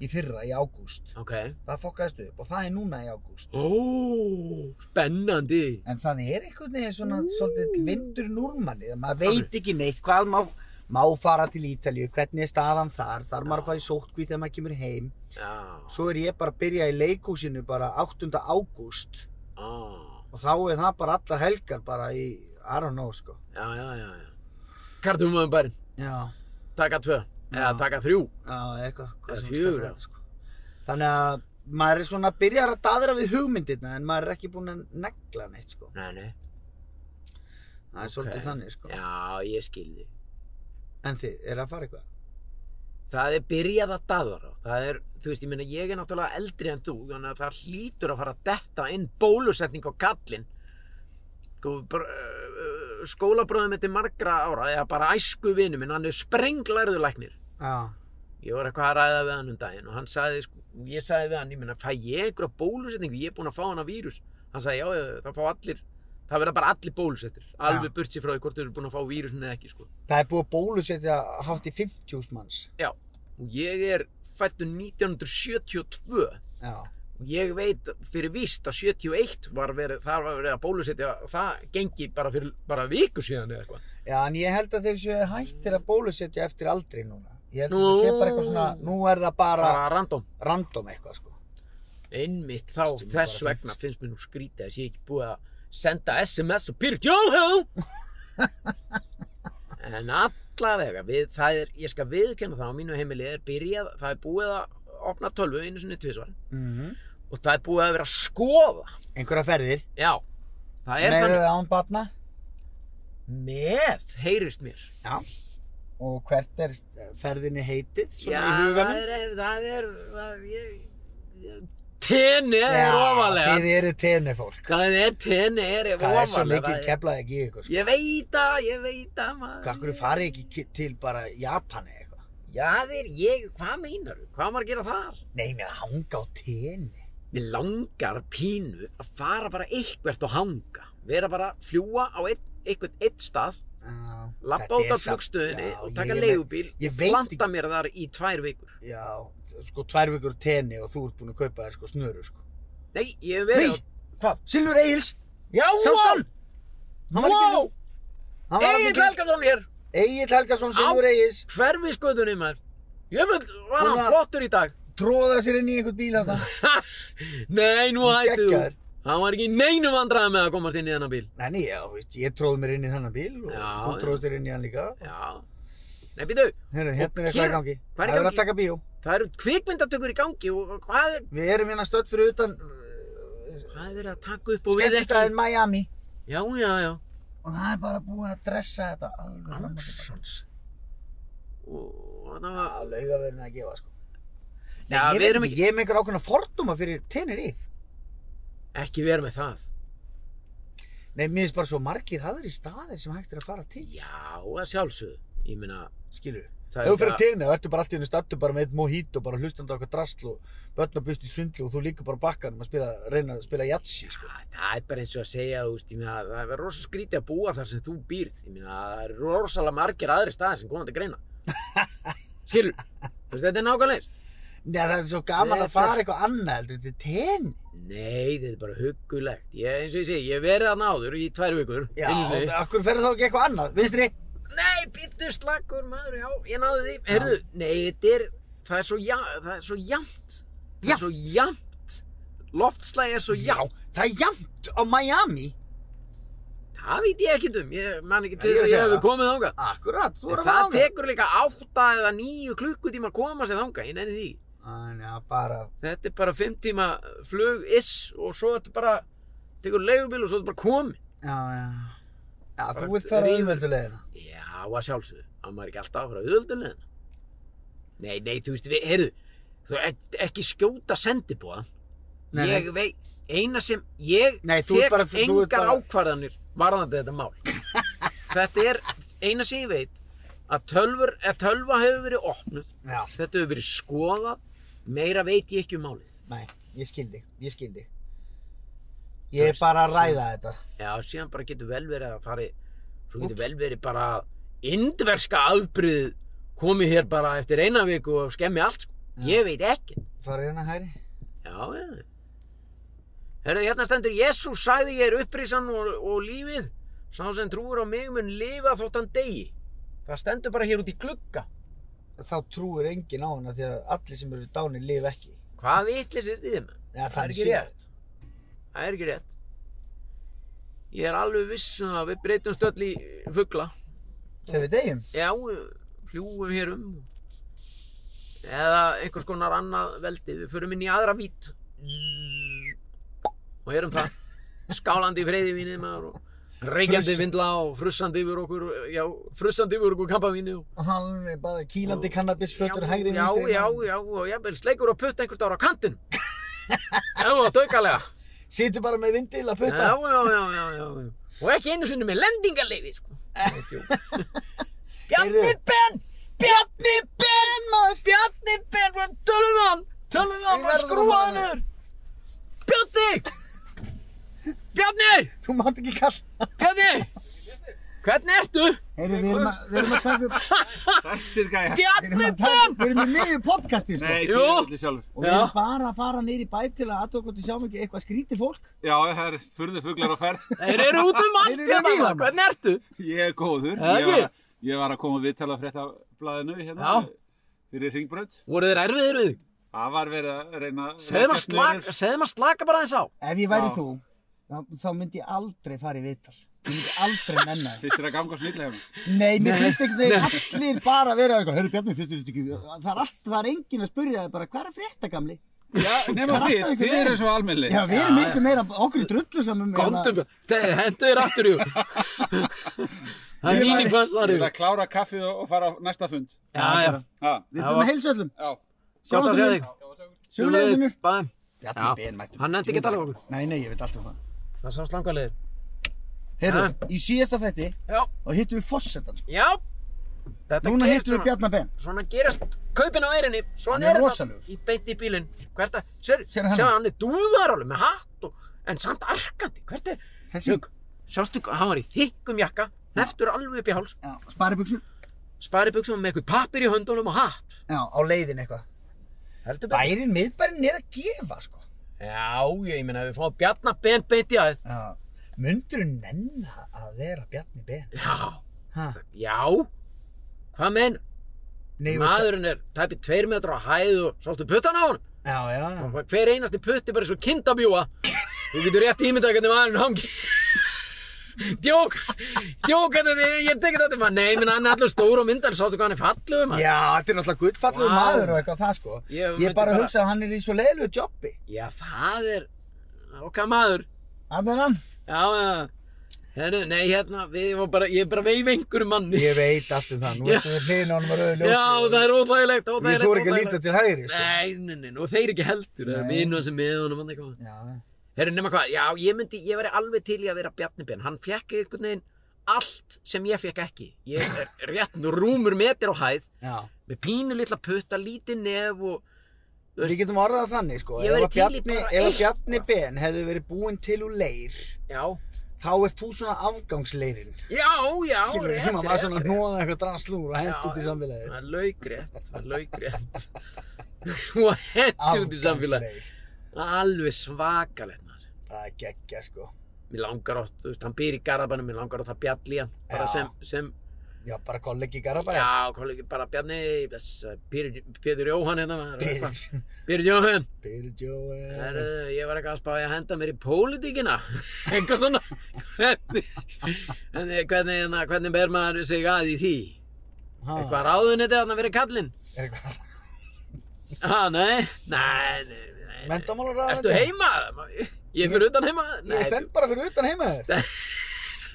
Speaker 2: í fyrra, í ágúst.
Speaker 1: Ok
Speaker 2: Það fokkaðist upp og það er núna í ágúst.
Speaker 1: Ó, spennandi
Speaker 2: En það er einhvern veginn svona svolítið vindurinn úr manni, að maður veit ekki neitt hvað má, má fara til Ítalíu, hvernig er staðan þar, þar maður að fara í sótkví þegar maður kemur heim.
Speaker 1: Já,
Speaker 2: Svo er ég bara að byrja í leikhúsinu bara 8. ágúst
Speaker 1: á,
Speaker 2: og þá er það bara allar helgar bara í, I don't know sko.
Speaker 1: já, já, já, já. Kartum um bærin,
Speaker 2: Já,
Speaker 1: taka tvö Eða
Speaker 2: Já.
Speaker 1: taka þrjú
Speaker 2: já, eitthvað,
Speaker 1: Það er
Speaker 2: hvað sem
Speaker 1: fjögur, já.
Speaker 2: þetta sko. Þannig að maður er svona, byrjar að daðra við hugmyndirna en maður er ekki búinn að negla neitt sko.
Speaker 1: Nei, nei,
Speaker 2: Það er
Speaker 1: Ok.
Speaker 2: svolítið þannig sko.
Speaker 1: já, ég skilði
Speaker 2: En þið, er að fara eitthvað?
Speaker 1: Það er byrjað að daðara Það er, þú veist, ég meina, ég er náttúrulega eldri en þú Þannig að það hlýtur að fara að detta inn bólusetning á kallinn Sko, br- uh, skólabröðum þetta margra ára eða bara æsku vinu minn, hann er sprenglærðulæknir
Speaker 2: Já,
Speaker 1: ég var eitthvað að ræða við hann um daginn og hann sagði, sko, ég sagði við hann, ég meina, fæ ég einhverja bólusetningu, ég er búinn að fá hann að vírus hann sagði, já, já, það fá allir það verða bara allir bólusettir, alveg burt sér frá því hvort þau eru búin að fá vírusin eða ekki, sko
Speaker 2: það er búið að bólusetja hátt í 50 manns.
Speaker 1: já, og ég er fættu 1972
Speaker 2: Já,
Speaker 1: og ég veit fyrir víst að 71 var verið, það var verið að bólusetja það gengi bara fyrir bara viku síðan eða eitthvað
Speaker 2: já en ég held að þeir séu hættir að bólusetja eftir aldrei núna. Ég held að
Speaker 1: Nú.
Speaker 2: það sé bara eitthvað svona, nú er það bara
Speaker 1: bara random,
Speaker 2: random eitthvað sko.
Speaker 1: einmitt þá
Speaker 2: Sem er bara
Speaker 1: þess
Speaker 2: fínt.
Speaker 1: vegna finnst mér nú skrítið að ég sé ekki búið að senda sms og Pyrr Jóhjó en allavega við, það er, ég skal viðkenna það á mínu heimili er byrjað, það er búið að opna tölvu einu sinni tvisvar
Speaker 2: Mm
Speaker 1: og það er búið að vera að skoða
Speaker 2: Einhverja ferðir,
Speaker 1: já, það er
Speaker 2: með
Speaker 1: þannig
Speaker 2: eða án batna
Speaker 1: með, heyrist mér
Speaker 2: og hvert er ferðinni heitið svona í
Speaker 1: það
Speaker 2: huganum.
Speaker 1: er, það er það, ég, ég, tenni er ofalega
Speaker 2: þið eru tenni fólk.
Speaker 1: það er tenni er
Speaker 2: Það er svo
Speaker 1: ofalega
Speaker 2: mikið keflaði ekki í ykkur. Sko.
Speaker 1: Ég veit að, ég veit að maður
Speaker 2: Hvað hverju farið ekki ki- til bara Japani eða eitthvað?
Speaker 1: Já þeir, ég, hvað meinar þú? Hvað á maður að gera þar?
Speaker 2: Nei, mér að hanga á tenni.
Speaker 1: Mér langar pínu að fara bara eitthvert og hanga Vera bara að fljúa á eitt, eitthvað eitt stað
Speaker 2: Já, þetta
Speaker 1: Lappa út
Speaker 2: er
Speaker 1: á
Speaker 2: samt-
Speaker 1: flugstöðinni
Speaker 2: já,
Speaker 1: og
Speaker 2: ég
Speaker 1: taka
Speaker 2: er með-
Speaker 1: leigubíl
Speaker 2: ég
Speaker 1: Og
Speaker 2: veit
Speaker 1: planta
Speaker 2: ekki.
Speaker 1: mér þar í tvær vikur
Speaker 2: Já, sko tvær vikur á tenni og þú ert búinn að kaupa þér sko snöru sko.
Speaker 1: Nei, ég hef verið
Speaker 2: Nei.
Speaker 1: á- Hvað?
Speaker 2: Silfur Egils,
Speaker 1: Já,
Speaker 2: sást hann? Hann var í
Speaker 1: Wow,
Speaker 2: bílum. Hann var
Speaker 1: Egil Helgarsson hér
Speaker 2: Egil Helgason, Silfur
Speaker 1: Á.
Speaker 2: Egils,
Speaker 1: Hverfi skoðunni maður Jöfull, var
Speaker 2: Hún
Speaker 1: hann
Speaker 2: var-
Speaker 1: flottur í dag
Speaker 2: tróða sér inn í einhvern bíl af það.
Speaker 1: Nei, nú
Speaker 2: Hann
Speaker 1: hættu þú
Speaker 2: geggjaður.
Speaker 1: Hann var ekki í neinum vandræðum með að komast inn í þennan bíl
Speaker 2: Nei, nei, já, veist, ég tróð mér inn í þennan bíl og
Speaker 1: Já,
Speaker 2: þú
Speaker 1: já.
Speaker 2: tróðst þér inn í hann líka.
Speaker 1: Já Nei, býtu,
Speaker 2: Hérna, hérna er
Speaker 1: Og
Speaker 2: eitthvað
Speaker 1: hér-
Speaker 2: í gangi.
Speaker 1: hvað er í
Speaker 2: Það verður
Speaker 1: gangi?
Speaker 2: að taka bíó.
Speaker 1: Það eru kvikmyndatökur í gangi og og hvað er,
Speaker 2: Við erum hérna stödd fyrir utan uh,
Speaker 1: hvað er verið að taka upp og við ekki?
Speaker 2: skemmtistæðin Miami
Speaker 1: Já, já, já.
Speaker 2: og það er bara búin að dressa þetta alveg fram að þetta.
Speaker 1: Hansons. Og það var,
Speaker 2: Það er laugaverðin að gefa, sko. Nei,
Speaker 1: Já,
Speaker 2: ég
Speaker 1: við
Speaker 2: veit
Speaker 1: erum
Speaker 2: ekki, ég er með einhver ákveðna fordóma fyrir Tenerife.
Speaker 1: ekki verið með það.
Speaker 2: Nei, mér finnst bara svo margir aðri staðir sem hægt er að fara til,
Speaker 1: Já, að sjálfsögðu. Ég meina,
Speaker 2: skilur.
Speaker 1: það
Speaker 2: Ef þú fyrir
Speaker 1: bara-
Speaker 2: tenni, þá ertu bara allt í henni stattu bara með eitt mojito, bara hlustandi á eitthvað drasl og börn og bust í sundlu og þú líka bara á bakkanum að spila, reyna að spila jatsi, sko.
Speaker 1: Já, Það er bara eins og að segja, þú veist, ég meina, það er rosa skrítið að búa þar sem þú býrð. Ég meina, það er rosalega margir aðri staðar sem koma til greina. Skilur, þú veist, þetta er nákvæmlega eins.
Speaker 2: Nei, það er svo gaman
Speaker 1: Nei,
Speaker 2: að fara
Speaker 1: þess-
Speaker 2: eitthvað annað heldur til tenni.
Speaker 1: Nei, þetta er bara huggulegt. Ég, eins og ég segi, ég hef verið að náður í tvær vikur.
Speaker 2: Já,
Speaker 1: einu sinni.
Speaker 2: og okkur ferði þá ekki eitthvað annað, vinstri?
Speaker 1: Nei, býttu slagur maður, já, ég náði því. Herðu, nei, þetta er, það er svo, ja, það er svo jamt. Það
Speaker 2: Já.
Speaker 1: er svo jamt. Loftslæg er svo jamt.
Speaker 2: það er jæmt á Miami.
Speaker 1: Það veit ég ekki um, ég man ekki til
Speaker 2: Nei,
Speaker 1: þess að
Speaker 2: ég er að
Speaker 1: ég
Speaker 2: segja
Speaker 1: hefði
Speaker 2: það.
Speaker 1: komið þangað.
Speaker 2: Akkurat, þú
Speaker 1: En
Speaker 2: voru að fara á
Speaker 1: það tekur líka átta eða níu klukkutíma að koma sér þangað, ég nefni því.
Speaker 2: Þannig að bara,
Speaker 1: Þetta er bara fimm tíma flug iss og svo ertu bara, tekur leigubíl og svo er bara komin.
Speaker 2: já, já. Já, þú
Speaker 1: Bara
Speaker 2: vilt fara
Speaker 1: ríður.
Speaker 2: auðveldulegina.
Speaker 1: Já, að sjálfsögðu. Það maður ekki alltaf að fara auðvöldulegðina. Nei, nei, þú veist, við, heyrðu, þú ek- ekki skjóta sendibóðan.
Speaker 2: Nei, nei.
Speaker 1: Ég veit, eina sem, ég
Speaker 2: Nei, þú ert
Speaker 1: tek
Speaker 2: bara- þú ert
Speaker 1: engar
Speaker 2: bara-
Speaker 1: ákvarðanir varðandi þetta mál. þetta er, eina sem ég veit, að tölfur, að tölva hefur verið opnuð,
Speaker 2: Já,
Speaker 1: þetta hefur verið skoðað, meira veit ég ekki um málið.
Speaker 2: nei, ég skildi, ég skildi.
Speaker 1: Þú
Speaker 2: Ég er
Speaker 1: veist,
Speaker 2: bara að
Speaker 1: sem-
Speaker 2: ræða þetta.
Speaker 1: Já, síðan bara getur vel verið að fari, svo getur vel verið bara að indverska afbrið komi hér bara eftir eina viku og skemmi allt, sko.
Speaker 2: Já.
Speaker 1: Ég veit ekki.
Speaker 2: Fara hérna hæri.
Speaker 1: Já, já. Herðu, hérna stendur, Jésús sagði ég er upprisan og, og lífið, sá sem trúur á mig mun lifa þótt hann degi. Það stendur bara hér út í glugga.
Speaker 2: Þá trúir enginn á hana því að allir sem eru dánir lifa ekki.
Speaker 1: Hvað vitlis er þið með?
Speaker 2: Ja,
Speaker 1: Það er ekki rétt. Það er ekki rétt. Ég er alveg viss um að við breytumst öll í fuggla.
Speaker 2: Þegar við deyjum.
Speaker 1: Já, fljúum hér um eða einhvers konar annað veldi, við förum inn í aðra vít og erum það skálandi í freyði vínið maður og reykjandi
Speaker 2: Fruss-
Speaker 1: vindla og frussandi yfir okkur já, frussandi yfir okkur kampavínu og
Speaker 2: Alveg bara kýlandi kannabisfötur,
Speaker 1: já,
Speaker 2: hægri
Speaker 1: já,
Speaker 2: vinstri.
Speaker 1: já, já, og jafnvel sleikur og putt einhvers stára á kantinn já, og daukalega
Speaker 2: Situr bara með vindil að
Speaker 1: já,
Speaker 2: putta.
Speaker 1: já, já, já, já, já og ekki einu sinni með lendingarleifi sko. Bjarni
Speaker 2: Heyrðu.
Speaker 1: Ben Bjarni Ben maður Bjarni Ben, maður, tölum við hann tölum við hann,
Speaker 2: Við
Speaker 1: maður,
Speaker 2: verðum að
Speaker 1: skrúa
Speaker 2: fara
Speaker 1: hann ur Bjarni Bjarni,
Speaker 2: Þú mátt ekki kalla.
Speaker 1: Bjarni Hvernig ertu?
Speaker 2: Heyrðu, við erum að- við erum að taka upp,
Speaker 4: Þessir gæja.
Speaker 2: við erum
Speaker 1: Bjarni
Speaker 2: að
Speaker 1: Ben
Speaker 2: taka upp, við erum í miðju podcasti, sko.
Speaker 4: Nei,
Speaker 1: Jú.
Speaker 4: djöfulli sjálfur.
Speaker 2: Og við erum
Speaker 1: Já.
Speaker 2: bara að fara niður í bæ til að aðtöku hvort við sjáum ekki eitthvað skrítið fólk.
Speaker 4: Já, það er furðu fuglar á ferð.
Speaker 1: Þeir eru út um allt
Speaker 2: Þeir eru
Speaker 1: hérna,
Speaker 2: víða,
Speaker 1: maður.
Speaker 2: maður.
Speaker 1: Hvernig ertu?
Speaker 4: Ég er góður.
Speaker 1: Það
Speaker 4: Ég var,
Speaker 1: ekki?
Speaker 4: ég var að koma viðtala frétta blaðinu hérna.
Speaker 1: Já.
Speaker 4: Fyrir Ringbrönd.
Speaker 1: Voru þeir erfiðir við? þig?
Speaker 4: Það var verið að reyna...
Speaker 1: Segðu maður slaka, segðu maður slaka bara aðeins á
Speaker 2: Ef ég væri
Speaker 4: Já.
Speaker 2: þú, þá, þá myndi ég aldrei fara í viðtal. Ég myndi aldrei menna það.
Speaker 4: Fyrst er að ganga á snillið hérna.
Speaker 2: Nei, mér finnst ekki þeir allir bara vera eitthvað. Hörru Bjarni, finnst þér þetta ekki? Það er allt, það er enginn að spurja þig bara, hvað er að frétta gamli?
Speaker 4: Já,
Speaker 2: Það
Speaker 4: nema
Speaker 2: er
Speaker 4: þið.
Speaker 2: alltaf einhver
Speaker 4: Þið
Speaker 2: leið.
Speaker 4: eru svo almennli.
Speaker 2: Já, við erum miklu meira, okkur er drullu saman hérna,
Speaker 1: Komdu, Bjarni. hendu þér aftur í Það er
Speaker 2: Ég
Speaker 1: nýni
Speaker 2: væri-
Speaker 1: fannst
Speaker 4: Ég
Speaker 1: þar
Speaker 4: vil
Speaker 1: yfir
Speaker 4: að klára kaffi og og fara á næsta fund.
Speaker 1: Já, já,
Speaker 4: Já,
Speaker 2: Við
Speaker 1: Já,
Speaker 2: erum
Speaker 1: og-
Speaker 2: með heilsöllum.
Speaker 4: já.
Speaker 1: sjátt að
Speaker 2: um-
Speaker 1: segja þig
Speaker 2: Sjóðlega sinur.
Speaker 1: Bæðum
Speaker 2: Bjarni Ben mættur.
Speaker 1: Hann nefndi ekki að tala um okkur.
Speaker 2: Nei, nei, ég veit allt um það.
Speaker 1: Það sá slangalegir
Speaker 2: Heyrðu, í síðasta þætti,
Speaker 1: Já,
Speaker 2: þá hittum við Fossetan, sko.
Speaker 1: já Þetta
Speaker 2: Núna
Speaker 1: gerist
Speaker 2: hittum við
Speaker 1: svona-
Speaker 2: Bjarni Ben.
Speaker 1: Svona gerast kaupin á eirinni
Speaker 2: Hann
Speaker 1: Svona
Speaker 2: er
Speaker 1: er þetta
Speaker 2: rosalegur.
Speaker 1: Í beinti í bílinn Hvert að, sér,
Speaker 2: Sérðu
Speaker 1: sér
Speaker 2: hann?
Speaker 1: hann er dúðar alveg með hatt og, En samt arkandi, hvert er
Speaker 2: Þessi,
Speaker 1: Sjögg, Sástu, hvað, hann var í þykkum jakka Neftur alveg upp í háls
Speaker 2: já, sparibuxur.
Speaker 1: Spari buksum með eitthvað pappir í höndunum og hatt
Speaker 2: Já, á leiðin eitthvað.
Speaker 1: Heldur betur
Speaker 2: Bærin, miðbærin er að gefa, sko.
Speaker 1: Já, ég meina, við fáum bjarnabenn beinti að
Speaker 2: Já. Mundur nenna að vera Bjarni Ben?
Speaker 1: Já,
Speaker 2: Ha?
Speaker 1: já Hvað menn?
Speaker 2: Nei, ég veist það-
Speaker 1: Maðurinn er tæpi tveir metra á hæð og sástu puttan á hann
Speaker 2: Já, já.
Speaker 1: og hver einasti putti bara eins og kindabjúa þú getur rétt ímyndað hvernig maðurinn hangi djók djók að þetta, ég er tekið þetta maður nei, minn hann er allur stór og myndan, sáttu hvað hann er fallu maður
Speaker 2: Já, þetta er náttúrulega guttfallegur
Speaker 1: Vá.
Speaker 2: maður og eitthvað það sko.
Speaker 1: Ég
Speaker 2: Ég,
Speaker 1: myndi
Speaker 2: bara
Speaker 1: bara-
Speaker 2: hugsa að hann er í svo leiðilegu jobbi.
Speaker 1: já, það er okkar maður
Speaker 2: Að það er hann.
Speaker 1: já, já, herru, nei, hérna við var bara, ég er bara veif einhverjum manni
Speaker 2: Ég veit allt um það. Nú
Speaker 1: Já.
Speaker 2: ertu við hliðin á hann var auðvitað ljósi.
Speaker 1: já, það er óþægilegt,
Speaker 2: Við
Speaker 1: óþægilegt
Speaker 2: þú ekki að
Speaker 1: óþægilegt.
Speaker 2: líta til hægri sko.
Speaker 1: nei, nei, nei, og þeir ekki heldur það er
Speaker 2: Nei.
Speaker 1: vinur sem með honum hann eitthvað
Speaker 2: Já,
Speaker 1: Herru, nema hvað, já, ég myndi, ég væri alveg til í að vera Bjarni Ben, hann fekk einhvern veginn allt sem ég fekk ekki. Ég er rétt nú rúmur metir á hæð,
Speaker 2: já.
Speaker 1: með pínu litla putta, lítið nef og, þú
Speaker 2: Við
Speaker 1: veist,
Speaker 2: getum orðað þannig sko.
Speaker 1: Ég
Speaker 2: Ef
Speaker 1: væri
Speaker 2: að
Speaker 1: til í
Speaker 2: Bjarni,
Speaker 1: bara
Speaker 2: ef að
Speaker 1: eitt.
Speaker 2: Bjarni Ben hefði verið búinn til úr leir,
Speaker 1: já,
Speaker 2: þá ert þú svona afgangsleirin.
Speaker 1: já, já,
Speaker 2: Skilur við, sem að maður svona nóða eitthvað draslúr og hent út í samfélagið.
Speaker 1: Það er laugrétt, það er laugrétt. og hendt út í samfélagi.
Speaker 2: Afgangsleir.
Speaker 1: Alveg svakalegt maður.
Speaker 2: Það er geggja sko.
Speaker 1: Mér langar oft, þú veist, hann býr í garðabænum, mér langar oft að bjalli hann, bara
Speaker 2: Já.
Speaker 1: sem, sem,
Speaker 2: Já, bara kollegi í Garabæja.
Speaker 1: já, kollegi, bara bjalli, Pétur Jóhann hérna, maður, eitthvað. Eh,
Speaker 2: Byrjur,
Speaker 1: Pétur Jóhann,
Speaker 2: byrjur, Jóel.
Speaker 1: Herru, ég var eitthvað að spá ég að henda mér í pólitíkina eitthvað svona hvernig, hvernig, hvernig, hérna, hvernig ber maður sig að í því eitthvað Eh, ráðunetið þarna verið kallinn
Speaker 2: Er eitthvað?
Speaker 1: ah, nei, nei, nei, nei
Speaker 2: Mentamálar
Speaker 1: Ertu heima? Ég fyrir utan heima?
Speaker 2: Ég stend bara fyrir utan heima þér.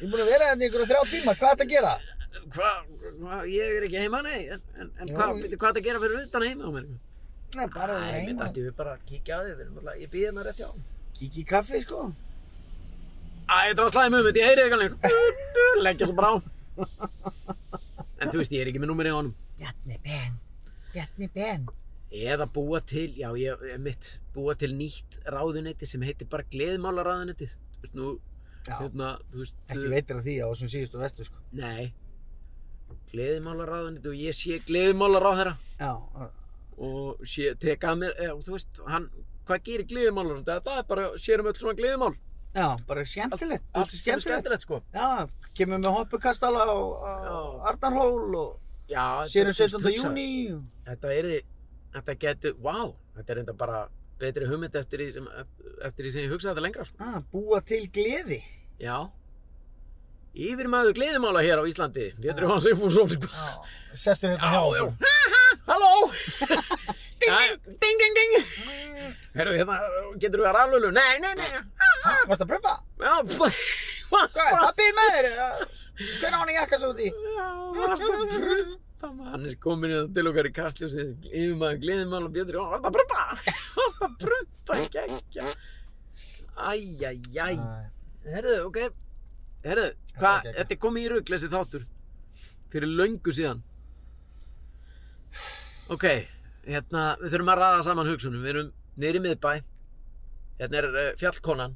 Speaker 2: Ég er búin að vera hérna í einhverju þrjá tíma, hvað ertu að gera?
Speaker 1: Hvað, hva, ég er ekki heima, nei, en, en, en
Speaker 2: Jú,
Speaker 1: hvað
Speaker 2: ég-
Speaker 1: hva það gera fyrir utan heima á mér?
Speaker 2: Nei, bara vera
Speaker 1: Æ,
Speaker 2: heima.
Speaker 1: þetta við bara að kíkja á þig, við erum alltaf, ég býði hérna rétt hjá.
Speaker 2: Kíkja í kaffi, sko.
Speaker 1: Æ, þetta var slæðið mjög mynd, ég heyri eitthvað lengur, leggja svo brá. En þú veist, ég er ekki með númerið á honum.
Speaker 2: Bjarni Ben, Bjarni Ben.
Speaker 1: Eða búa til, já, ég, ég mitt, búa til nýtt ráðunetti sem heitir bara gleðmála ráðunetti. Þú veist, nú,
Speaker 2: Já,
Speaker 1: hérna, þú veist,
Speaker 2: ekki veitir af því á þessum síðustu vestu, sko.
Speaker 1: nei, gleðmála ráðunetti og ég sé gleðmála ráðherra.
Speaker 2: Já, uh,
Speaker 1: og sé, teka að mér, eða, þú veist, hann, hvað gerir gleðimálunum? Það, það er bara, sérum öll svona gleðimál.
Speaker 2: já, bara skemmtilegt.
Speaker 1: Allt sem er skemmtilegt, sko.
Speaker 2: Já, kemur með hoppukastala og, og
Speaker 1: Já.
Speaker 2: Arnarhól og um
Speaker 1: Já, þetta
Speaker 2: sérum
Speaker 1: er, þú veist,
Speaker 2: 17.
Speaker 1: hugsað.
Speaker 2: júni.
Speaker 1: Þetta er því, þetta getur, vá, þetta er enda bara betri hugmynd eftir því sem, eftir því sem ég hugsaði þetta lengra, sko.
Speaker 2: Ah, búa til gleði.
Speaker 1: Já. Yfirmaður gleðimála hér á Íslandi, Pétur Jóhann Sigfússon.
Speaker 2: Já, sestur hérna
Speaker 1: Já, já. Halló! ding, ding, ding, ding, ding.
Speaker 2: já.
Speaker 1: Herru, hérna, getur við að raflölu? Nei, nei, nei.
Speaker 2: Varst að prumpa?
Speaker 1: Já, hvað?
Speaker 2: Hvað er pappið með þér? eða? Hvernig á hann í jakka svo út í?
Speaker 1: Já, varstu að prumpa maður? Hann er komin hérna til okkar í kastljósið, yfirmaður, gleðimál og bjöndur, og varstu að prumpa, varstu að prumpa, geggja. Æjæjæ,
Speaker 2: Ah.
Speaker 1: herðu, ok, herðu, hvað,
Speaker 2: geggjað.
Speaker 1: þetta er komið í rugl þessi þáttur, fyrir löngu síðan. Ok, hérna, við þurfum að raða saman hugsunum, við erum niður í miðbæ, hérna er uh, fjallkonan,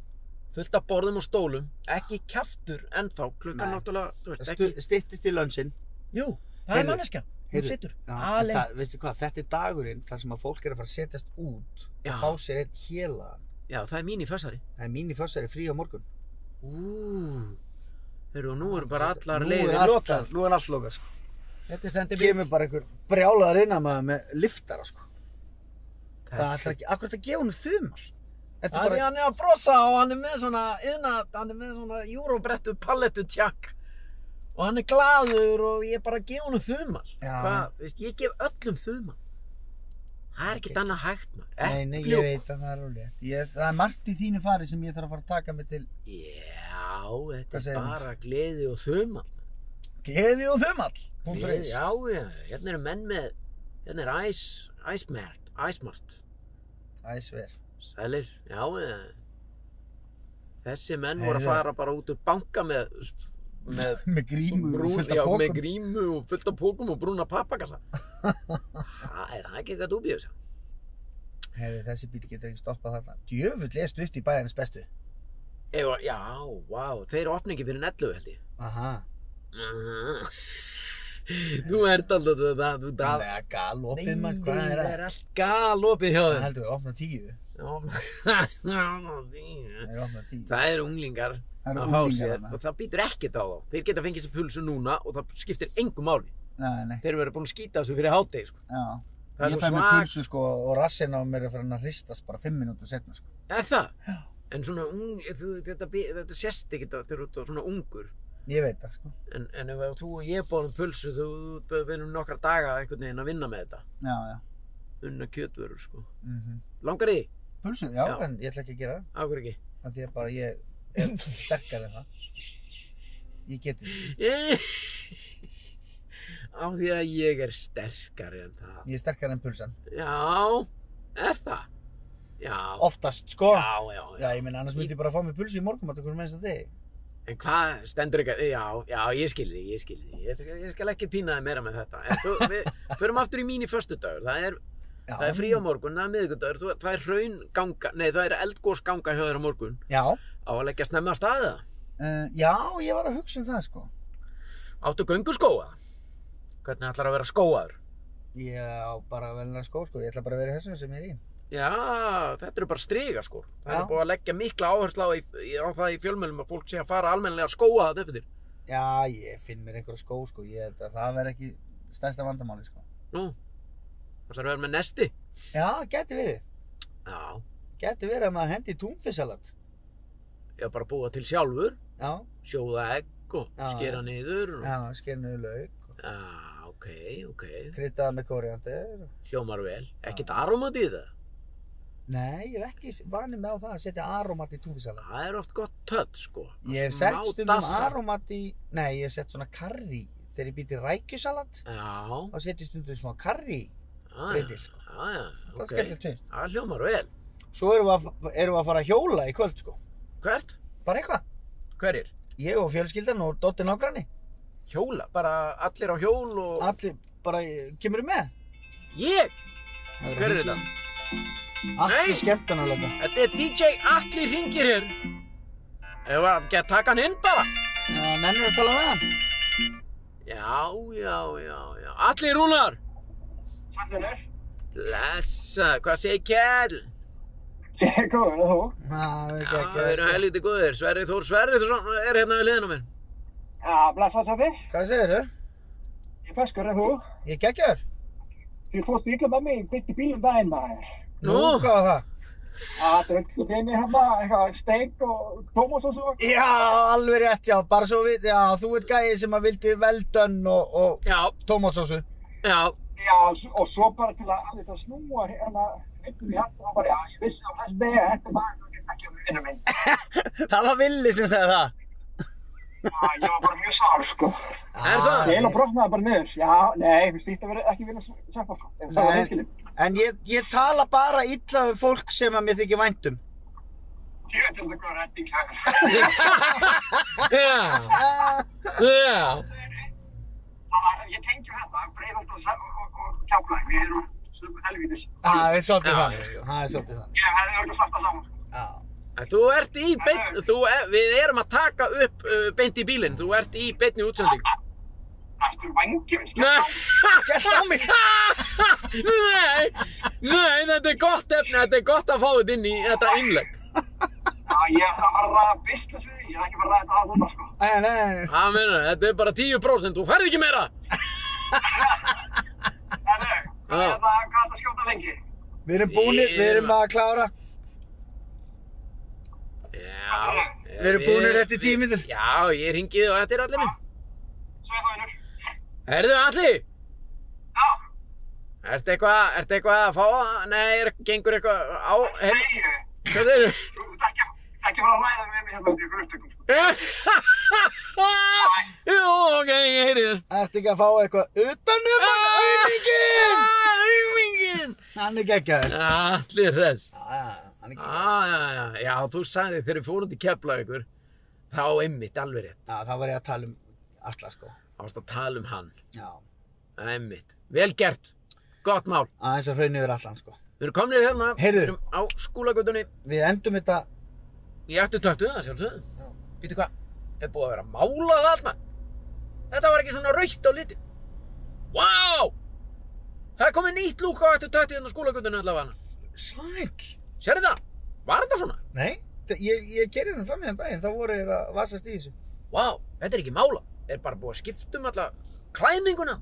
Speaker 1: fullt af borðum og stólum, ekki kjaftur ennþá, klukkan
Speaker 2: Nei.
Speaker 1: náttúrulega, þú veist, ekki...
Speaker 2: Stu- Styttist í lönnsinn.
Speaker 1: Jú, það
Speaker 2: Heyrðu,
Speaker 1: er manneska, hún
Speaker 2: heyrðu,
Speaker 1: situr
Speaker 2: Já, en
Speaker 1: alein.
Speaker 2: það, veistu hvað, þetta er dagurinn þar sem að fólk er að fara að setjast út
Speaker 1: Já.
Speaker 2: og fá sér einn hélagan.
Speaker 1: Já, það er mín í fössari.
Speaker 2: Það er mín í fössari frí á morgun.
Speaker 1: Ú, heyrðu, og nú eru bara allar
Speaker 2: Nú er
Speaker 1: leiðir
Speaker 2: allt-
Speaker 1: lokað.
Speaker 2: Nú er allt lokað, sko.
Speaker 1: Þetta er sendið
Speaker 2: Kemur bara einhver brjálaðar innan maður með liftara, sko. Það
Speaker 1: Það
Speaker 2: ætlar ekki, akkur þetta gefa henni þumal. Ertu
Speaker 1: er
Speaker 2: bara,
Speaker 1: hann er að frossa og hann er með svona yðna, hann er með svona júróbrettu pallettu tjakk og hann er glaður og ég bara gef honum þumal.
Speaker 2: Já.
Speaker 1: Hvað, veist, ég gef öllum þumal. Það er ekkert annað hægt maður.
Speaker 2: nei, nei, ég
Speaker 1: Epljók.
Speaker 2: veit að það er alveg. Ég, það er margt í þínu fari sem ég þarf að fara að taka mig til
Speaker 1: Já,
Speaker 2: Hvað
Speaker 1: þetta
Speaker 2: segir
Speaker 1: er
Speaker 2: maður?
Speaker 1: bara gleði og þumal.
Speaker 2: gleði og þumal. Punktur
Speaker 1: Við,
Speaker 2: is.
Speaker 1: já, já, hérna eru menn með, hérna er æs, æsmert, æsmart,
Speaker 2: Æsver.
Speaker 1: sælir, já, já. Þessi menn voru að
Speaker 2: Heyrðu.
Speaker 1: fara bara út úr banka með, með,
Speaker 2: Með grímu og
Speaker 1: brún,
Speaker 2: fullt
Speaker 1: já,
Speaker 2: af
Speaker 1: með
Speaker 2: pókum.
Speaker 1: grímu og fullt af pókum og brúna pappakassa. Það er það ekki eitthvað dúbíu þessu.
Speaker 2: Herri, þessi bíl getur ekki stoppað þarna. Djöfull er stutt í bæjarins bestu.
Speaker 1: Eða, já, vá, þeir opna ekki fyrir netlu, held ég.
Speaker 2: Aha.
Speaker 1: Þú ert alltaf svo það, þú það.
Speaker 2: Nei, galopið
Speaker 1: Nei,
Speaker 2: maður, hvað er
Speaker 1: það
Speaker 2: það?
Speaker 1: er allt galopið hjá
Speaker 2: Það
Speaker 1: þeim.
Speaker 2: heldur við opna tíu.
Speaker 1: Já, já, því.
Speaker 2: Það er opna tíu.
Speaker 1: Það eru unglingar
Speaker 2: Það eru
Speaker 1: að fá
Speaker 2: unglingar
Speaker 1: sér
Speaker 2: þarna.
Speaker 1: og það býtur ekkert á þá. Þeir geta fengið sér pulsu núna og það skiptir engum máli.
Speaker 2: Nei, nei,
Speaker 1: Þeir eru verið búin að skýta þessu fyrir hátegi. Sko.
Speaker 2: já.
Speaker 1: Það er
Speaker 2: Ég
Speaker 1: svo
Speaker 2: fæ mér
Speaker 1: svak-
Speaker 2: pulsu sko og rassinn á mér er farin að hristast bara fimm mínútur setna sko.
Speaker 1: Er það? Já. En svona ung, þú, þetta, bi- þetta sérst ekki þetta þegar þú ert svona ungur.
Speaker 2: Ég veit það sko.
Speaker 1: En, en ef þú og ég bóðum pulsu þú þú- við erum nokkra daga einhvern veginn að vinna með þetta.
Speaker 2: Já, já.
Speaker 1: Unna kjötvörur sko.
Speaker 2: Mm
Speaker 1: Langar þið?
Speaker 2: Pulsu, já,
Speaker 1: Já.
Speaker 2: en ég ætla ekki að gera það.
Speaker 1: Ákveð ekki.
Speaker 2: af Því að bara ég er sterkar en það. Ég geti það.
Speaker 1: Ég- Á því að ég er sterkari en það.
Speaker 2: Ég er sterkar en pulsan.
Speaker 1: Já, er það? Já.
Speaker 2: Oftast sko. Já,
Speaker 1: Já, já, já.
Speaker 2: ég meina annars myndi ég bara fá mér pulsu í morgum að það hvernig mennst að um degi.
Speaker 1: En hvað stendur ekki Já, já, ég skil þig, ég skil þig. Ég, ég skal ekki pína þig meira með þetta. En þú, við förum aftur í mín í föstudagur. Það er,
Speaker 2: Já.
Speaker 1: það er frí á morgun, það er miðvikudagur. þú- Það er hraunganga, nei, það er eldgósganga hjá þér á morgun.
Speaker 2: Já.
Speaker 1: Á að leggja snemma að staða.
Speaker 2: Uh, já, ég var að hugsa um það sko.
Speaker 1: Áttu gönguskóa. Hvernig ætlar að vera skóaður?
Speaker 2: Ég á bara velna skó sko. Ég ætla bara að vera í þessum sem ég er í.
Speaker 1: Já, þetta eru bara striga sko. Það
Speaker 2: Já.
Speaker 1: er búið að leggja mikla áherslu á, í, á það í fjölmjölum að fólk sé að fara almennilega að skóa þetta upp yfir.
Speaker 2: Já, ég finn mér einhverja skó sko, ég held að það verði ekki stærsta vandamáli sko.
Speaker 1: Nú, það er að vera með nesti.
Speaker 2: Já, geti verið.
Speaker 1: Já,
Speaker 2: Geti verið að maður hendi í túnfisalat.
Speaker 1: ég var bara að búa til sjálfur.
Speaker 2: Já,
Speaker 1: sjóða egg og
Speaker 2: Já,
Speaker 1: skera
Speaker 2: já.
Speaker 1: niður og...
Speaker 2: já, skernuðu lauk og
Speaker 1: Já, ok, ok,
Speaker 2: kryddaða með koriander.
Speaker 1: hljómar vel. Ekkert aromat í það?
Speaker 2: Nei, ég hef ekki vanið með á það að setja aromat í túnfisksalat.
Speaker 1: Það er oft gott tödd, sko.
Speaker 2: Ég hef
Speaker 1: Smá
Speaker 2: sett stundum
Speaker 1: dassa.
Speaker 2: aromat í, nei, ég hef sett svona karri. Þegar ég býti rækjusalat,
Speaker 1: Já,
Speaker 2: þá setjum stundum smá karri.
Speaker 1: já,
Speaker 2: Breytir,
Speaker 1: já,
Speaker 2: sko.
Speaker 1: já,
Speaker 2: Það
Speaker 1: ok.
Speaker 2: okay. skellur til.
Speaker 1: Það hljómar vel.
Speaker 2: Svo erum við, að, erum við að fara að hjóla í kvöld, sko.
Speaker 1: Hvert?
Speaker 2: Bara eitthvað.
Speaker 1: Hverjir?
Speaker 2: Ég og fjölskyldan og Dotti nágranni.
Speaker 1: Hjóla, bara allir á hjól og...
Speaker 2: Allir bara, eh, kemurðu með?
Speaker 1: Ég?
Speaker 2: Það verður
Speaker 1: Hver er
Speaker 2: hringi-
Speaker 1: þetta?
Speaker 2: Allir
Speaker 1: Nei!
Speaker 2: skemmtanarlega.
Speaker 1: Þetta er DJ Atli Ringir hér. Ef að geta taka hann inn bara.
Speaker 2: Já, mennir að tala með hann?
Speaker 1: Já, já, já, já. Atli Rúnar.
Speaker 3: Sannur.
Speaker 1: Blessa, hvað segir Kjell?
Speaker 3: Ég er góð, þú?
Speaker 2: Já, það er
Speaker 1: Já,
Speaker 2: ekki
Speaker 1: við erum helviti góðir. Sverrið Þór Sverrið er hérna við liðinu minn.
Speaker 3: Já, blessa Soffi.
Speaker 2: Hvað segir þau?
Speaker 3: Ég er feskur, þú?
Speaker 2: Ég er geggjaður.
Speaker 3: Þú fórst líka með mig, byggt í bílum daginn maður.
Speaker 2: Nú,
Speaker 1: Nú?
Speaker 2: hvað var það?
Speaker 3: Já, dröndu þeim í hérna, eitthvað steik og tómas og svo.
Speaker 2: Já, alveg rétt, já, bara svo við, já, þú ert gæði sem að vildi veldönn og, og
Speaker 1: Já,
Speaker 2: tómatsósu.
Speaker 1: já,
Speaker 3: Já, og svo bara til að alveg það snúa hérna, einhvern veginn hérna, þá bara, já, ég vissi að þessi vega, þetta var ekki um vinnu minn.
Speaker 2: það var Villi sem sagði það.
Speaker 3: Já, ég var bara mjög sár, sko.
Speaker 1: Er það?
Speaker 3: Ég einu brotnaði bara niður. Já, nei, við stýttum verið ekki vinna sefa, sko. Ef Það var
Speaker 2: Nei.
Speaker 3: hinskilin.
Speaker 2: En ég, ég tala bara illa um fólk sem að mér þykir um. væntum.
Speaker 3: Jöfnir það góða redding, hægur.
Speaker 1: já,
Speaker 2: Ah,
Speaker 1: já.
Speaker 3: Ég tengi þetta, Breiðholt og- og- og Keflavík, við erum sömu helvítis.
Speaker 2: það er svolítið
Speaker 1: Já.
Speaker 2: þannig, sko. Það er svolítið þannig.
Speaker 3: Ég hefði örugglega sagt það sama, sko.
Speaker 2: Já.
Speaker 1: En Þú ert í beinn, þú, e, við erum að taka upp uh, beint í bílinn, þú ert í beinni útsending.
Speaker 3: Ertu vængið, skilur?
Speaker 1: Nei,
Speaker 2: Skellt á mig!
Speaker 1: nei, nei, þetta er gott efni, þetta er gott að fá þetta inn í þetta innlegg.
Speaker 3: Já, ég ætla að fara að ræða business við því, ég er ekki að fara að ræða þetta að núna, sko.
Speaker 2: Nei, nei, nei.
Speaker 1: Það meina, þetta er bara 10%, þú færð ekki meira.
Speaker 3: En þau, hvað
Speaker 1: Já.
Speaker 3: er það hvað er það að skjóta lengi?
Speaker 2: Við erum búnir, við erum að klára.
Speaker 1: Já.
Speaker 2: Við erum búnir rétt í tíu mínútur.
Speaker 1: Já, ég ringi þig og þetta er allir minn.
Speaker 3: Sveið þá einur.
Speaker 1: Herðu, Alli,
Speaker 3: Já,
Speaker 1: ertu eitthvað, ertu eitthvað að fá, nei, er, gengur eitthvað á,
Speaker 3: nei,
Speaker 1: herru,
Speaker 3: ég-
Speaker 1: hvað þeir
Speaker 3: þú ert ekki að- ekki að fara að ræða með mig hérna í ykkur upptökum, sko.
Speaker 1: Jú, ok, ég heyri þér.
Speaker 2: Ertu ekki að fá eitthvað utan um hann, auðvingin?
Speaker 1: Aumingin!
Speaker 2: Hann er geggjaður.
Speaker 1: Ah, Allir hress.
Speaker 2: Já, já, hann er geggjaður.
Speaker 1: Ah, já, já, já, þú sagði þegar við fórum til Keflavíkur, þá einmitt alveg rétt.
Speaker 2: Já, þá var ég að tala um alla, sko.
Speaker 1: Þá varst að tala um hann,
Speaker 2: Já.
Speaker 1: einmitt. Vel gert, gott mál.
Speaker 2: Aðeins að hraunni yfir allan, sko.
Speaker 1: Við erum komnir hérna,
Speaker 2: Heyrðu.
Speaker 1: við erum á skúlagötunni.
Speaker 2: Við endum þetta,
Speaker 1: Ég ættu töktu það, sjálfsögðu.
Speaker 2: Já.
Speaker 1: Býtu hvað, er búið að vera að mála það allna? Þetta var ekki svona raukt á litin. Vá! Það er komið nýtt lúk á ættu töktu hérna á skúlagötunni allavega.
Speaker 2: sæll.
Speaker 1: Sérðu það? Var þetta svona?
Speaker 2: Nei, þa- ég, ég gerði það fram í þann daginn, þá voru ég að vasast í þessu.
Speaker 1: Vá, þetta er ekki mála. Er bara búið að skipta um alla klæðninguna.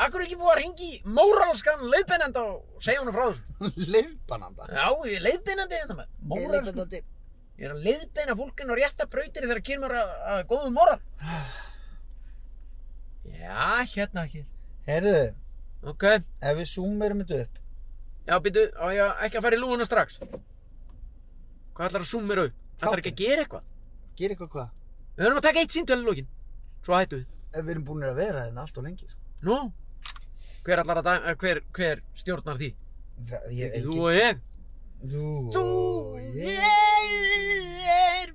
Speaker 1: Akkur er ekki búið að ringi móralskan leiðbeinanda og segja honum frá þessu.
Speaker 2: Leifbananda.
Speaker 1: Já, ég er leiðbeinandi hérna, þetta með. Móralskan.
Speaker 2: Leifbanandi.
Speaker 1: Ég er að leiðbeina fólkinu og rétta brautir þegar kemur að, að góðum móral. Já, hérna ekki.
Speaker 2: Herðu,
Speaker 1: Ok,
Speaker 2: ef við zoomerum þetta upp.
Speaker 1: já, býtu, á ég að- ekki að fara í lúguna strax. Hvað ætlar að zooma mér upp? Það ekki að gera eitthvað.
Speaker 2: Gera eitthvað hvað?
Speaker 1: Við höfum að taka eitt síntöl í lókin. Svo hættu við.
Speaker 2: Ef við erum búin að vera þeirna allt og lengi. sko.
Speaker 1: Nú, hver, ætlar að, da- hver, hver stjórnar því?
Speaker 2: Það, ég,
Speaker 1: Þú og ég
Speaker 2: Þú,
Speaker 1: Þú
Speaker 2: og
Speaker 1: og
Speaker 2: ég.
Speaker 1: ég er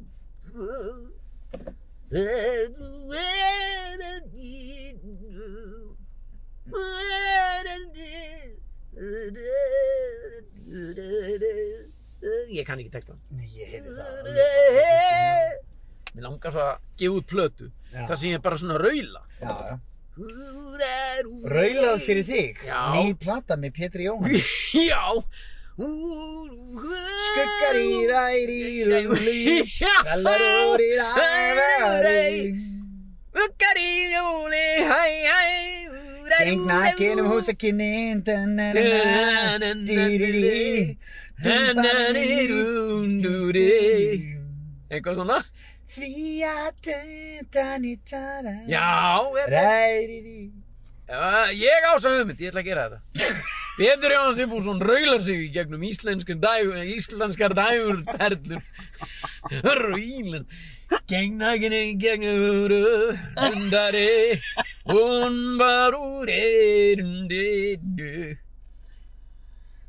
Speaker 1: Þú er að dýru Þú er að dýru Ég kann ekki texta
Speaker 2: Nei, ég heyrði það. alveg.
Speaker 1: Mér langar svo að gefa út plötu
Speaker 2: Já.
Speaker 1: Það sem ég bara svona raula
Speaker 2: Já, já. Raulað fyrir þig.
Speaker 1: Já.
Speaker 2: Ný plata með Pétri Jóhann.
Speaker 1: Já
Speaker 2: Skuggar í ræri rúli. Rallarúri ræri.
Speaker 1: Skuggar í rúli, hæ, hæ, úræ,
Speaker 2: Geng nakin um húsakinnin Dýriri
Speaker 1: Eitthvað svona?
Speaker 2: Því að tundan í tara
Speaker 1: Já, ég,
Speaker 2: Ræri
Speaker 1: ég ása hugmynd, ég ætla að gera þetta. Pétur Jóhann Sifússon raular sig í gegnum íslenskan dægur, íslenskar dægur perlur. Hörru ílen, gengnaginni gegnur hundari, hún var úr erindinu.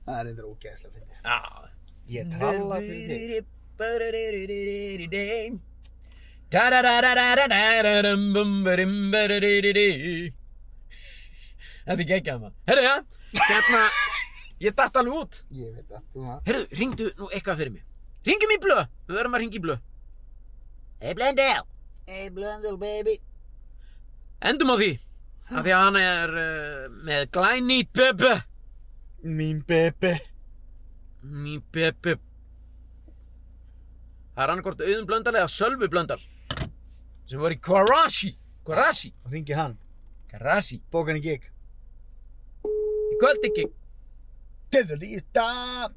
Speaker 2: Það er eitthvað ógeðslega fyndið.
Speaker 1: Já.
Speaker 2: Ég tralla fyrir þig.
Speaker 1: þig Þetta er geggjað maður Herru, já, hérna Ég datt alveg út
Speaker 2: Ég veit það, þú maður.
Speaker 1: Herru, ringdu nú eitthvað fyrir mig Ringjum í blöð, við verðum að ringja í blöð Hey Blöndel
Speaker 2: Hey Blöndal baby.
Speaker 1: Endum á því Af því að hann er uh, með glænýtt bebe
Speaker 2: Mín bebe.
Speaker 1: Ný bebe Það er annarkort auðum blöndal eða sölvi blöndal sem var í Karashi Karashi
Speaker 2: Ringi hann,
Speaker 1: Karashi
Speaker 2: bókan í gig.
Speaker 1: í kvöld ekki
Speaker 2: Diddle is dumb.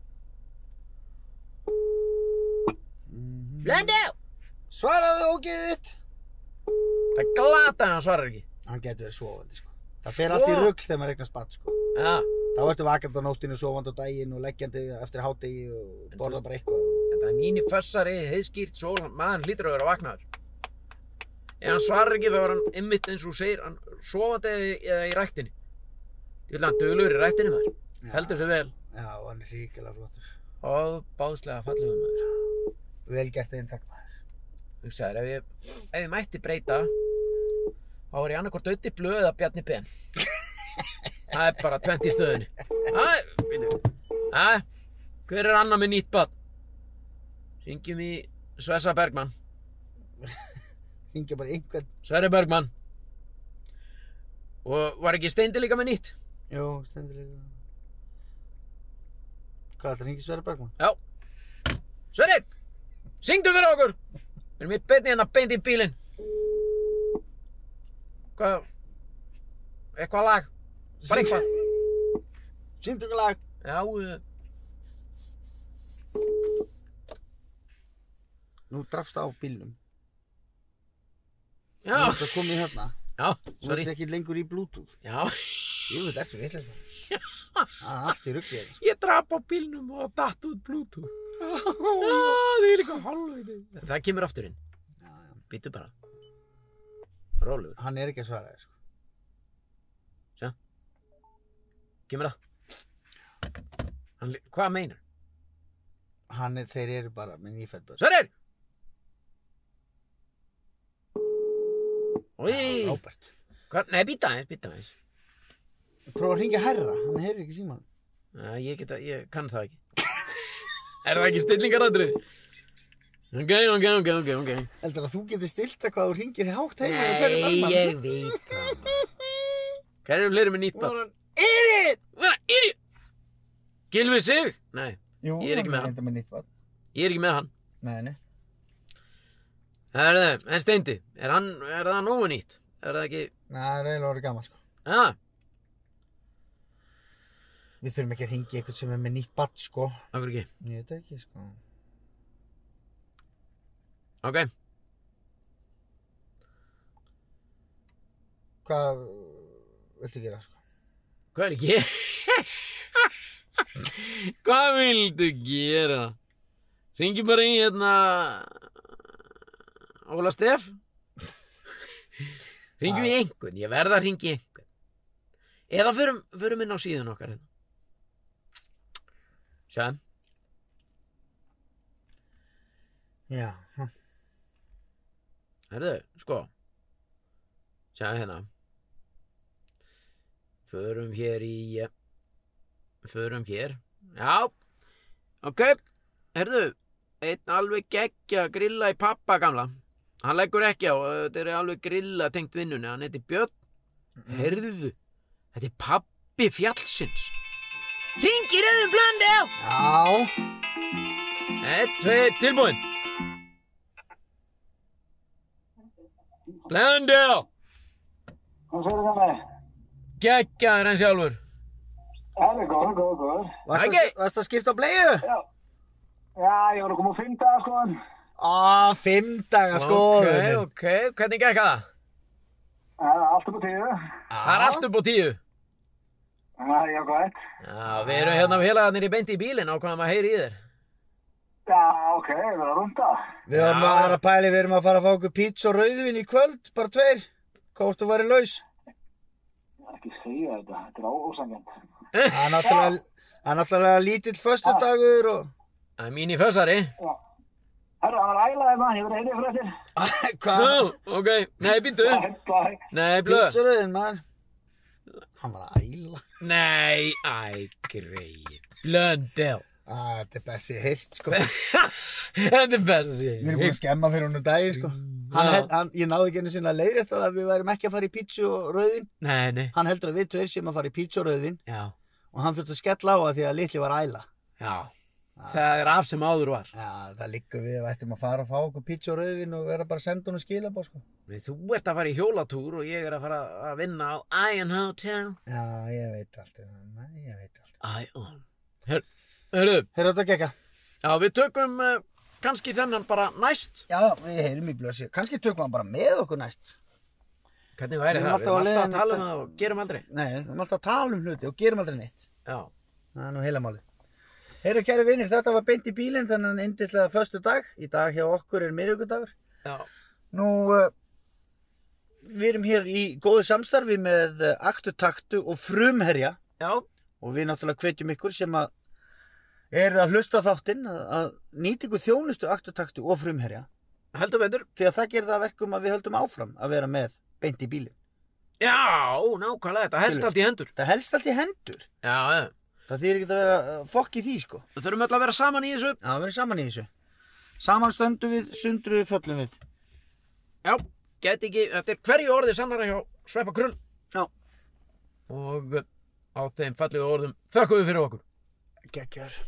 Speaker 1: Blöndal
Speaker 2: Svaraðu ógeðið þitt.
Speaker 1: Það glata hann svarar ekki
Speaker 2: Hann getur verið sofandi, sko. Það fer allt í
Speaker 1: Svo?
Speaker 2: rugl þegar maður eignast barn, sko.
Speaker 1: Já
Speaker 2: Þá ertu vakandi á nóttinu, sofandi á daginn og leggjandi eftir hádegi og borða bara eitthvað.
Speaker 1: Þetta er mínu fössari heiðskýrt svo maður hlýtur að vera vaknaður Ef hann svarar ekki þá er hann einmitt eins og þú segir hann sofandi eða í- eða í rættinni Ég vil hann dölur í rættinni maður
Speaker 2: Já.
Speaker 1: Heldur sér vel
Speaker 2: Já, hann er ríkilega flottur.
Speaker 1: og báðslega fallegum maður
Speaker 2: Vel gert einn takk maður.
Speaker 1: hugsaður, ef ég, ef ég mætti breyta þá er ég annarkvort Öddi Blöð eða Bjarni Ben það er bara 20 í stöðunni það er, býtu það er, hver er annar með nýtt bann syngjum í Svessa Bergmann
Speaker 2: Hringja bara í einhvern.
Speaker 1: Sverri Bergmann og var ekki Steindi líka með nýtt
Speaker 2: Jó, stendilega. Hvað, það hringi Sverri Bergman?
Speaker 1: já Sverri, syngdu fyrir okkur við erum í beinni hérna beint í bílinn hvað eitthvað lag, bara eitthvað
Speaker 2: Sýndu ykkur lag.
Speaker 1: Já, eh,
Speaker 2: Nú drafst á bílnum. Nú
Speaker 1: já,
Speaker 2: er þetta komið hérna.
Speaker 1: já,
Speaker 2: Nú er
Speaker 1: sorry,
Speaker 2: þetta ekki lengur í bluetooth.
Speaker 1: já,
Speaker 2: Jú, þetta er svo vitlega svona. Það er allt í ruggli hérna.
Speaker 1: ég drap á bílnum og datt út bluetooth. Já, það er líka halvviti. Það kemur aftur inn,
Speaker 2: sko. Já, já.
Speaker 1: býttu bara. Rólegur,
Speaker 2: Hann er ekki að svara þér, sko.
Speaker 1: kemur það. Hann, li- hvað meinar?
Speaker 2: Hann er, þeir eru bara með nýfætt börn.
Speaker 1: Sverrir!
Speaker 2: Já,
Speaker 1: Í,
Speaker 2: Róbert.
Speaker 1: hvað, nei, býta aðeins, býta aðeins.
Speaker 2: Prófa að ringja herra, hann heyrir ekki síman.
Speaker 1: Já, ég geta, ég kann það ekki. er það ekki stillingaradrið? Ok, ok, ok, ok, ok.
Speaker 2: Heldur að þú getur stilt að hvað þú ringir hátt heim og Sverri
Speaker 1: Nei,
Speaker 2: Bergman?
Speaker 1: ég veit það. Hvað eru fleiri með nýtt
Speaker 2: Nú
Speaker 1: bann?
Speaker 2: er hann, er it!
Speaker 1: Vera, er ég? Gilvi sig? Nei,
Speaker 2: Jú,
Speaker 1: Ég er ekki með hann.
Speaker 2: reyndar með nýtt barn.
Speaker 1: ég er ekki með hann.
Speaker 2: Nei, nei.
Speaker 1: Það er það, en Steindi, er, hann, er það nógu nýtt? Er það ekki, Ah,
Speaker 2: Nei, það er eiginlega orðið gammal, sko.
Speaker 1: já,
Speaker 2: Við þurfum ekki að ringja eitthvað sem er með nýtt barn, sko.
Speaker 1: okkur ekki.
Speaker 2: Ég veit það ekki, sko.
Speaker 1: Ok,
Speaker 2: Hvað viltu gera, sko?
Speaker 1: hvað er ekki? hvað vildu gera? Ringi bara í hérna Óla Steff? Ringjum í einhvern, ég verð að ringi einhvern. Eða förum, förum inn á síðun okkar hérna. Sjáðum.
Speaker 2: Já. hm.
Speaker 1: Herðu, sko Sjáðu hérna Förum hér í eh, Förum hér Já, ok Herðu, einn alveg geggja grilla í pappa gamla Hann leggur ekki á, eh, þetta er alveg grilla tengt vinnunni, hann heiti Björn Mhm. Herðu, þetta er pappi fjallsins Hringi rauðum blöndi á
Speaker 2: Já.
Speaker 1: Eitt, tveit, tilbúin Blöndel
Speaker 3: Hvað fyrir það með?
Speaker 1: Gekkjaður hann sjálfur
Speaker 3: Það er góð, góð, góð.
Speaker 2: Varst
Speaker 1: Ekki.
Speaker 2: að- varstu að skipta á bleiðu?
Speaker 3: Já. Já, ég var að koma að finna það, sko.
Speaker 2: Á, fimm daga skoðunum.
Speaker 1: Ok, ok, hvernig gekk það?
Speaker 3: Það er allt um að tíðu.
Speaker 1: Það er allt upp á tíu
Speaker 5: Það er jákvæmt.
Speaker 1: Já, við erum hérna félagarnir í beinti í bílinn ákvaðum að heyri í þér.
Speaker 5: Já, ok, það er rúnda.
Speaker 2: Við erum að aðra pæli, við erum að fara að fá okkur pizza og rauðvin í kvöld, bara tveir. Hvort þú væri laus?
Speaker 5: Ekki segja þetta, þetta er ósangjant.
Speaker 2: Það er náttúrulega, það er náttúrulega lítill föstudagur og...
Speaker 1: Það er mín í fössari.
Speaker 5: Herra, það var ælaði maður, ég verið einnig fyrir þér.
Speaker 2: Hvað?
Speaker 1: Nú, ok. Nei, býttu.
Speaker 5: Bye.
Speaker 1: Nei, blöð.
Speaker 2: Pizza rauðin, maður. Hann var að æla.
Speaker 1: Nei, æ, greið. Blöndel.
Speaker 2: Æ, þetta er best ég heilt, sko.
Speaker 1: Þetta er best að sé.
Speaker 2: Við erum búin að skemma fyrir hún um daginn, sko. Hann,
Speaker 1: Já.
Speaker 2: held- hann, ég náði ekki einu sinna að leiðrétta það að við værum ekki að fara í pizza og rauðin.
Speaker 1: Nei, nei.
Speaker 2: Hann heldur að við tveir séum að fara í pizza og rauðin
Speaker 1: Já,
Speaker 2: og hann þurfti að skella á það því að litli var að æla.
Speaker 1: já. Það er af sem áður var.
Speaker 2: Já, það liggur við að ættum að fara að fá okkur pizza og rauðin og vera bara að senda hún og skila sko.
Speaker 1: Nei, Þú ert að fara í hjólatúr og ég er að fara að vinna á Ion Hotel.
Speaker 2: Já, ég veit allt um það, Nei, ég veit allt.
Speaker 1: Ion. Hör, hörru,
Speaker 2: Þeir eru þetta gekka?
Speaker 1: já, við tökum uh, kannski þennan bara næst.
Speaker 2: Já, við heyrum í blösi. Kanski tökum við hann bara með okkur næst.
Speaker 1: Hvernig væri
Speaker 2: Við
Speaker 1: það?
Speaker 2: erum
Speaker 1: Við erum
Speaker 2: alltaf á
Speaker 1: alltaf að
Speaker 2: leiðinni
Speaker 1: tala um
Speaker 2: þetta.
Speaker 1: það og gerum aldrei.
Speaker 2: Nei, við erum alltaf að tala um hluti og gerum aldrei neitt.
Speaker 1: Já.
Speaker 2: Það er nú heila málið. Heyrðu kæri vinir, þetta var beint í bílinn þannig að indislega föstu dag. Í dag hjá okkur er miðvíkudagur.
Speaker 1: Já.
Speaker 2: Nú, uh, við erum hér í góðu samstarfi með uh, Aktu Taktu og Frumherja
Speaker 1: Já.
Speaker 2: og við náttúrulega hvetjum ykkur sem að er að hlusta á þáttinn að, að nýta ykkur þjónustu Aktu Taktu og Frumherja
Speaker 1: Heldur betur.
Speaker 2: því að það gerir það að verkum að við höldum áfram að vera með beint í bílinn.
Speaker 1: Já, nákvæmlega. Þetta helst
Speaker 2: Skilur.
Speaker 1: allt í hendur.
Speaker 2: Það helst allt í hendur.
Speaker 1: Já, já.
Speaker 2: Það þýr ekki að vera uh, fokk í því sko.
Speaker 1: Við þurfum öll að vera saman í þessu.
Speaker 2: Já, við erum saman í þessu. Saman stöndum við, sundru við, föllum við.
Speaker 1: Já, get ekki, þetta er hverju orðið sannara hjá Sveppa Krull. eh,
Speaker 2: Já.
Speaker 1: Og uh, á þeim fallegu orðum þökkum við fyrir okkur.
Speaker 2: Gekkjar.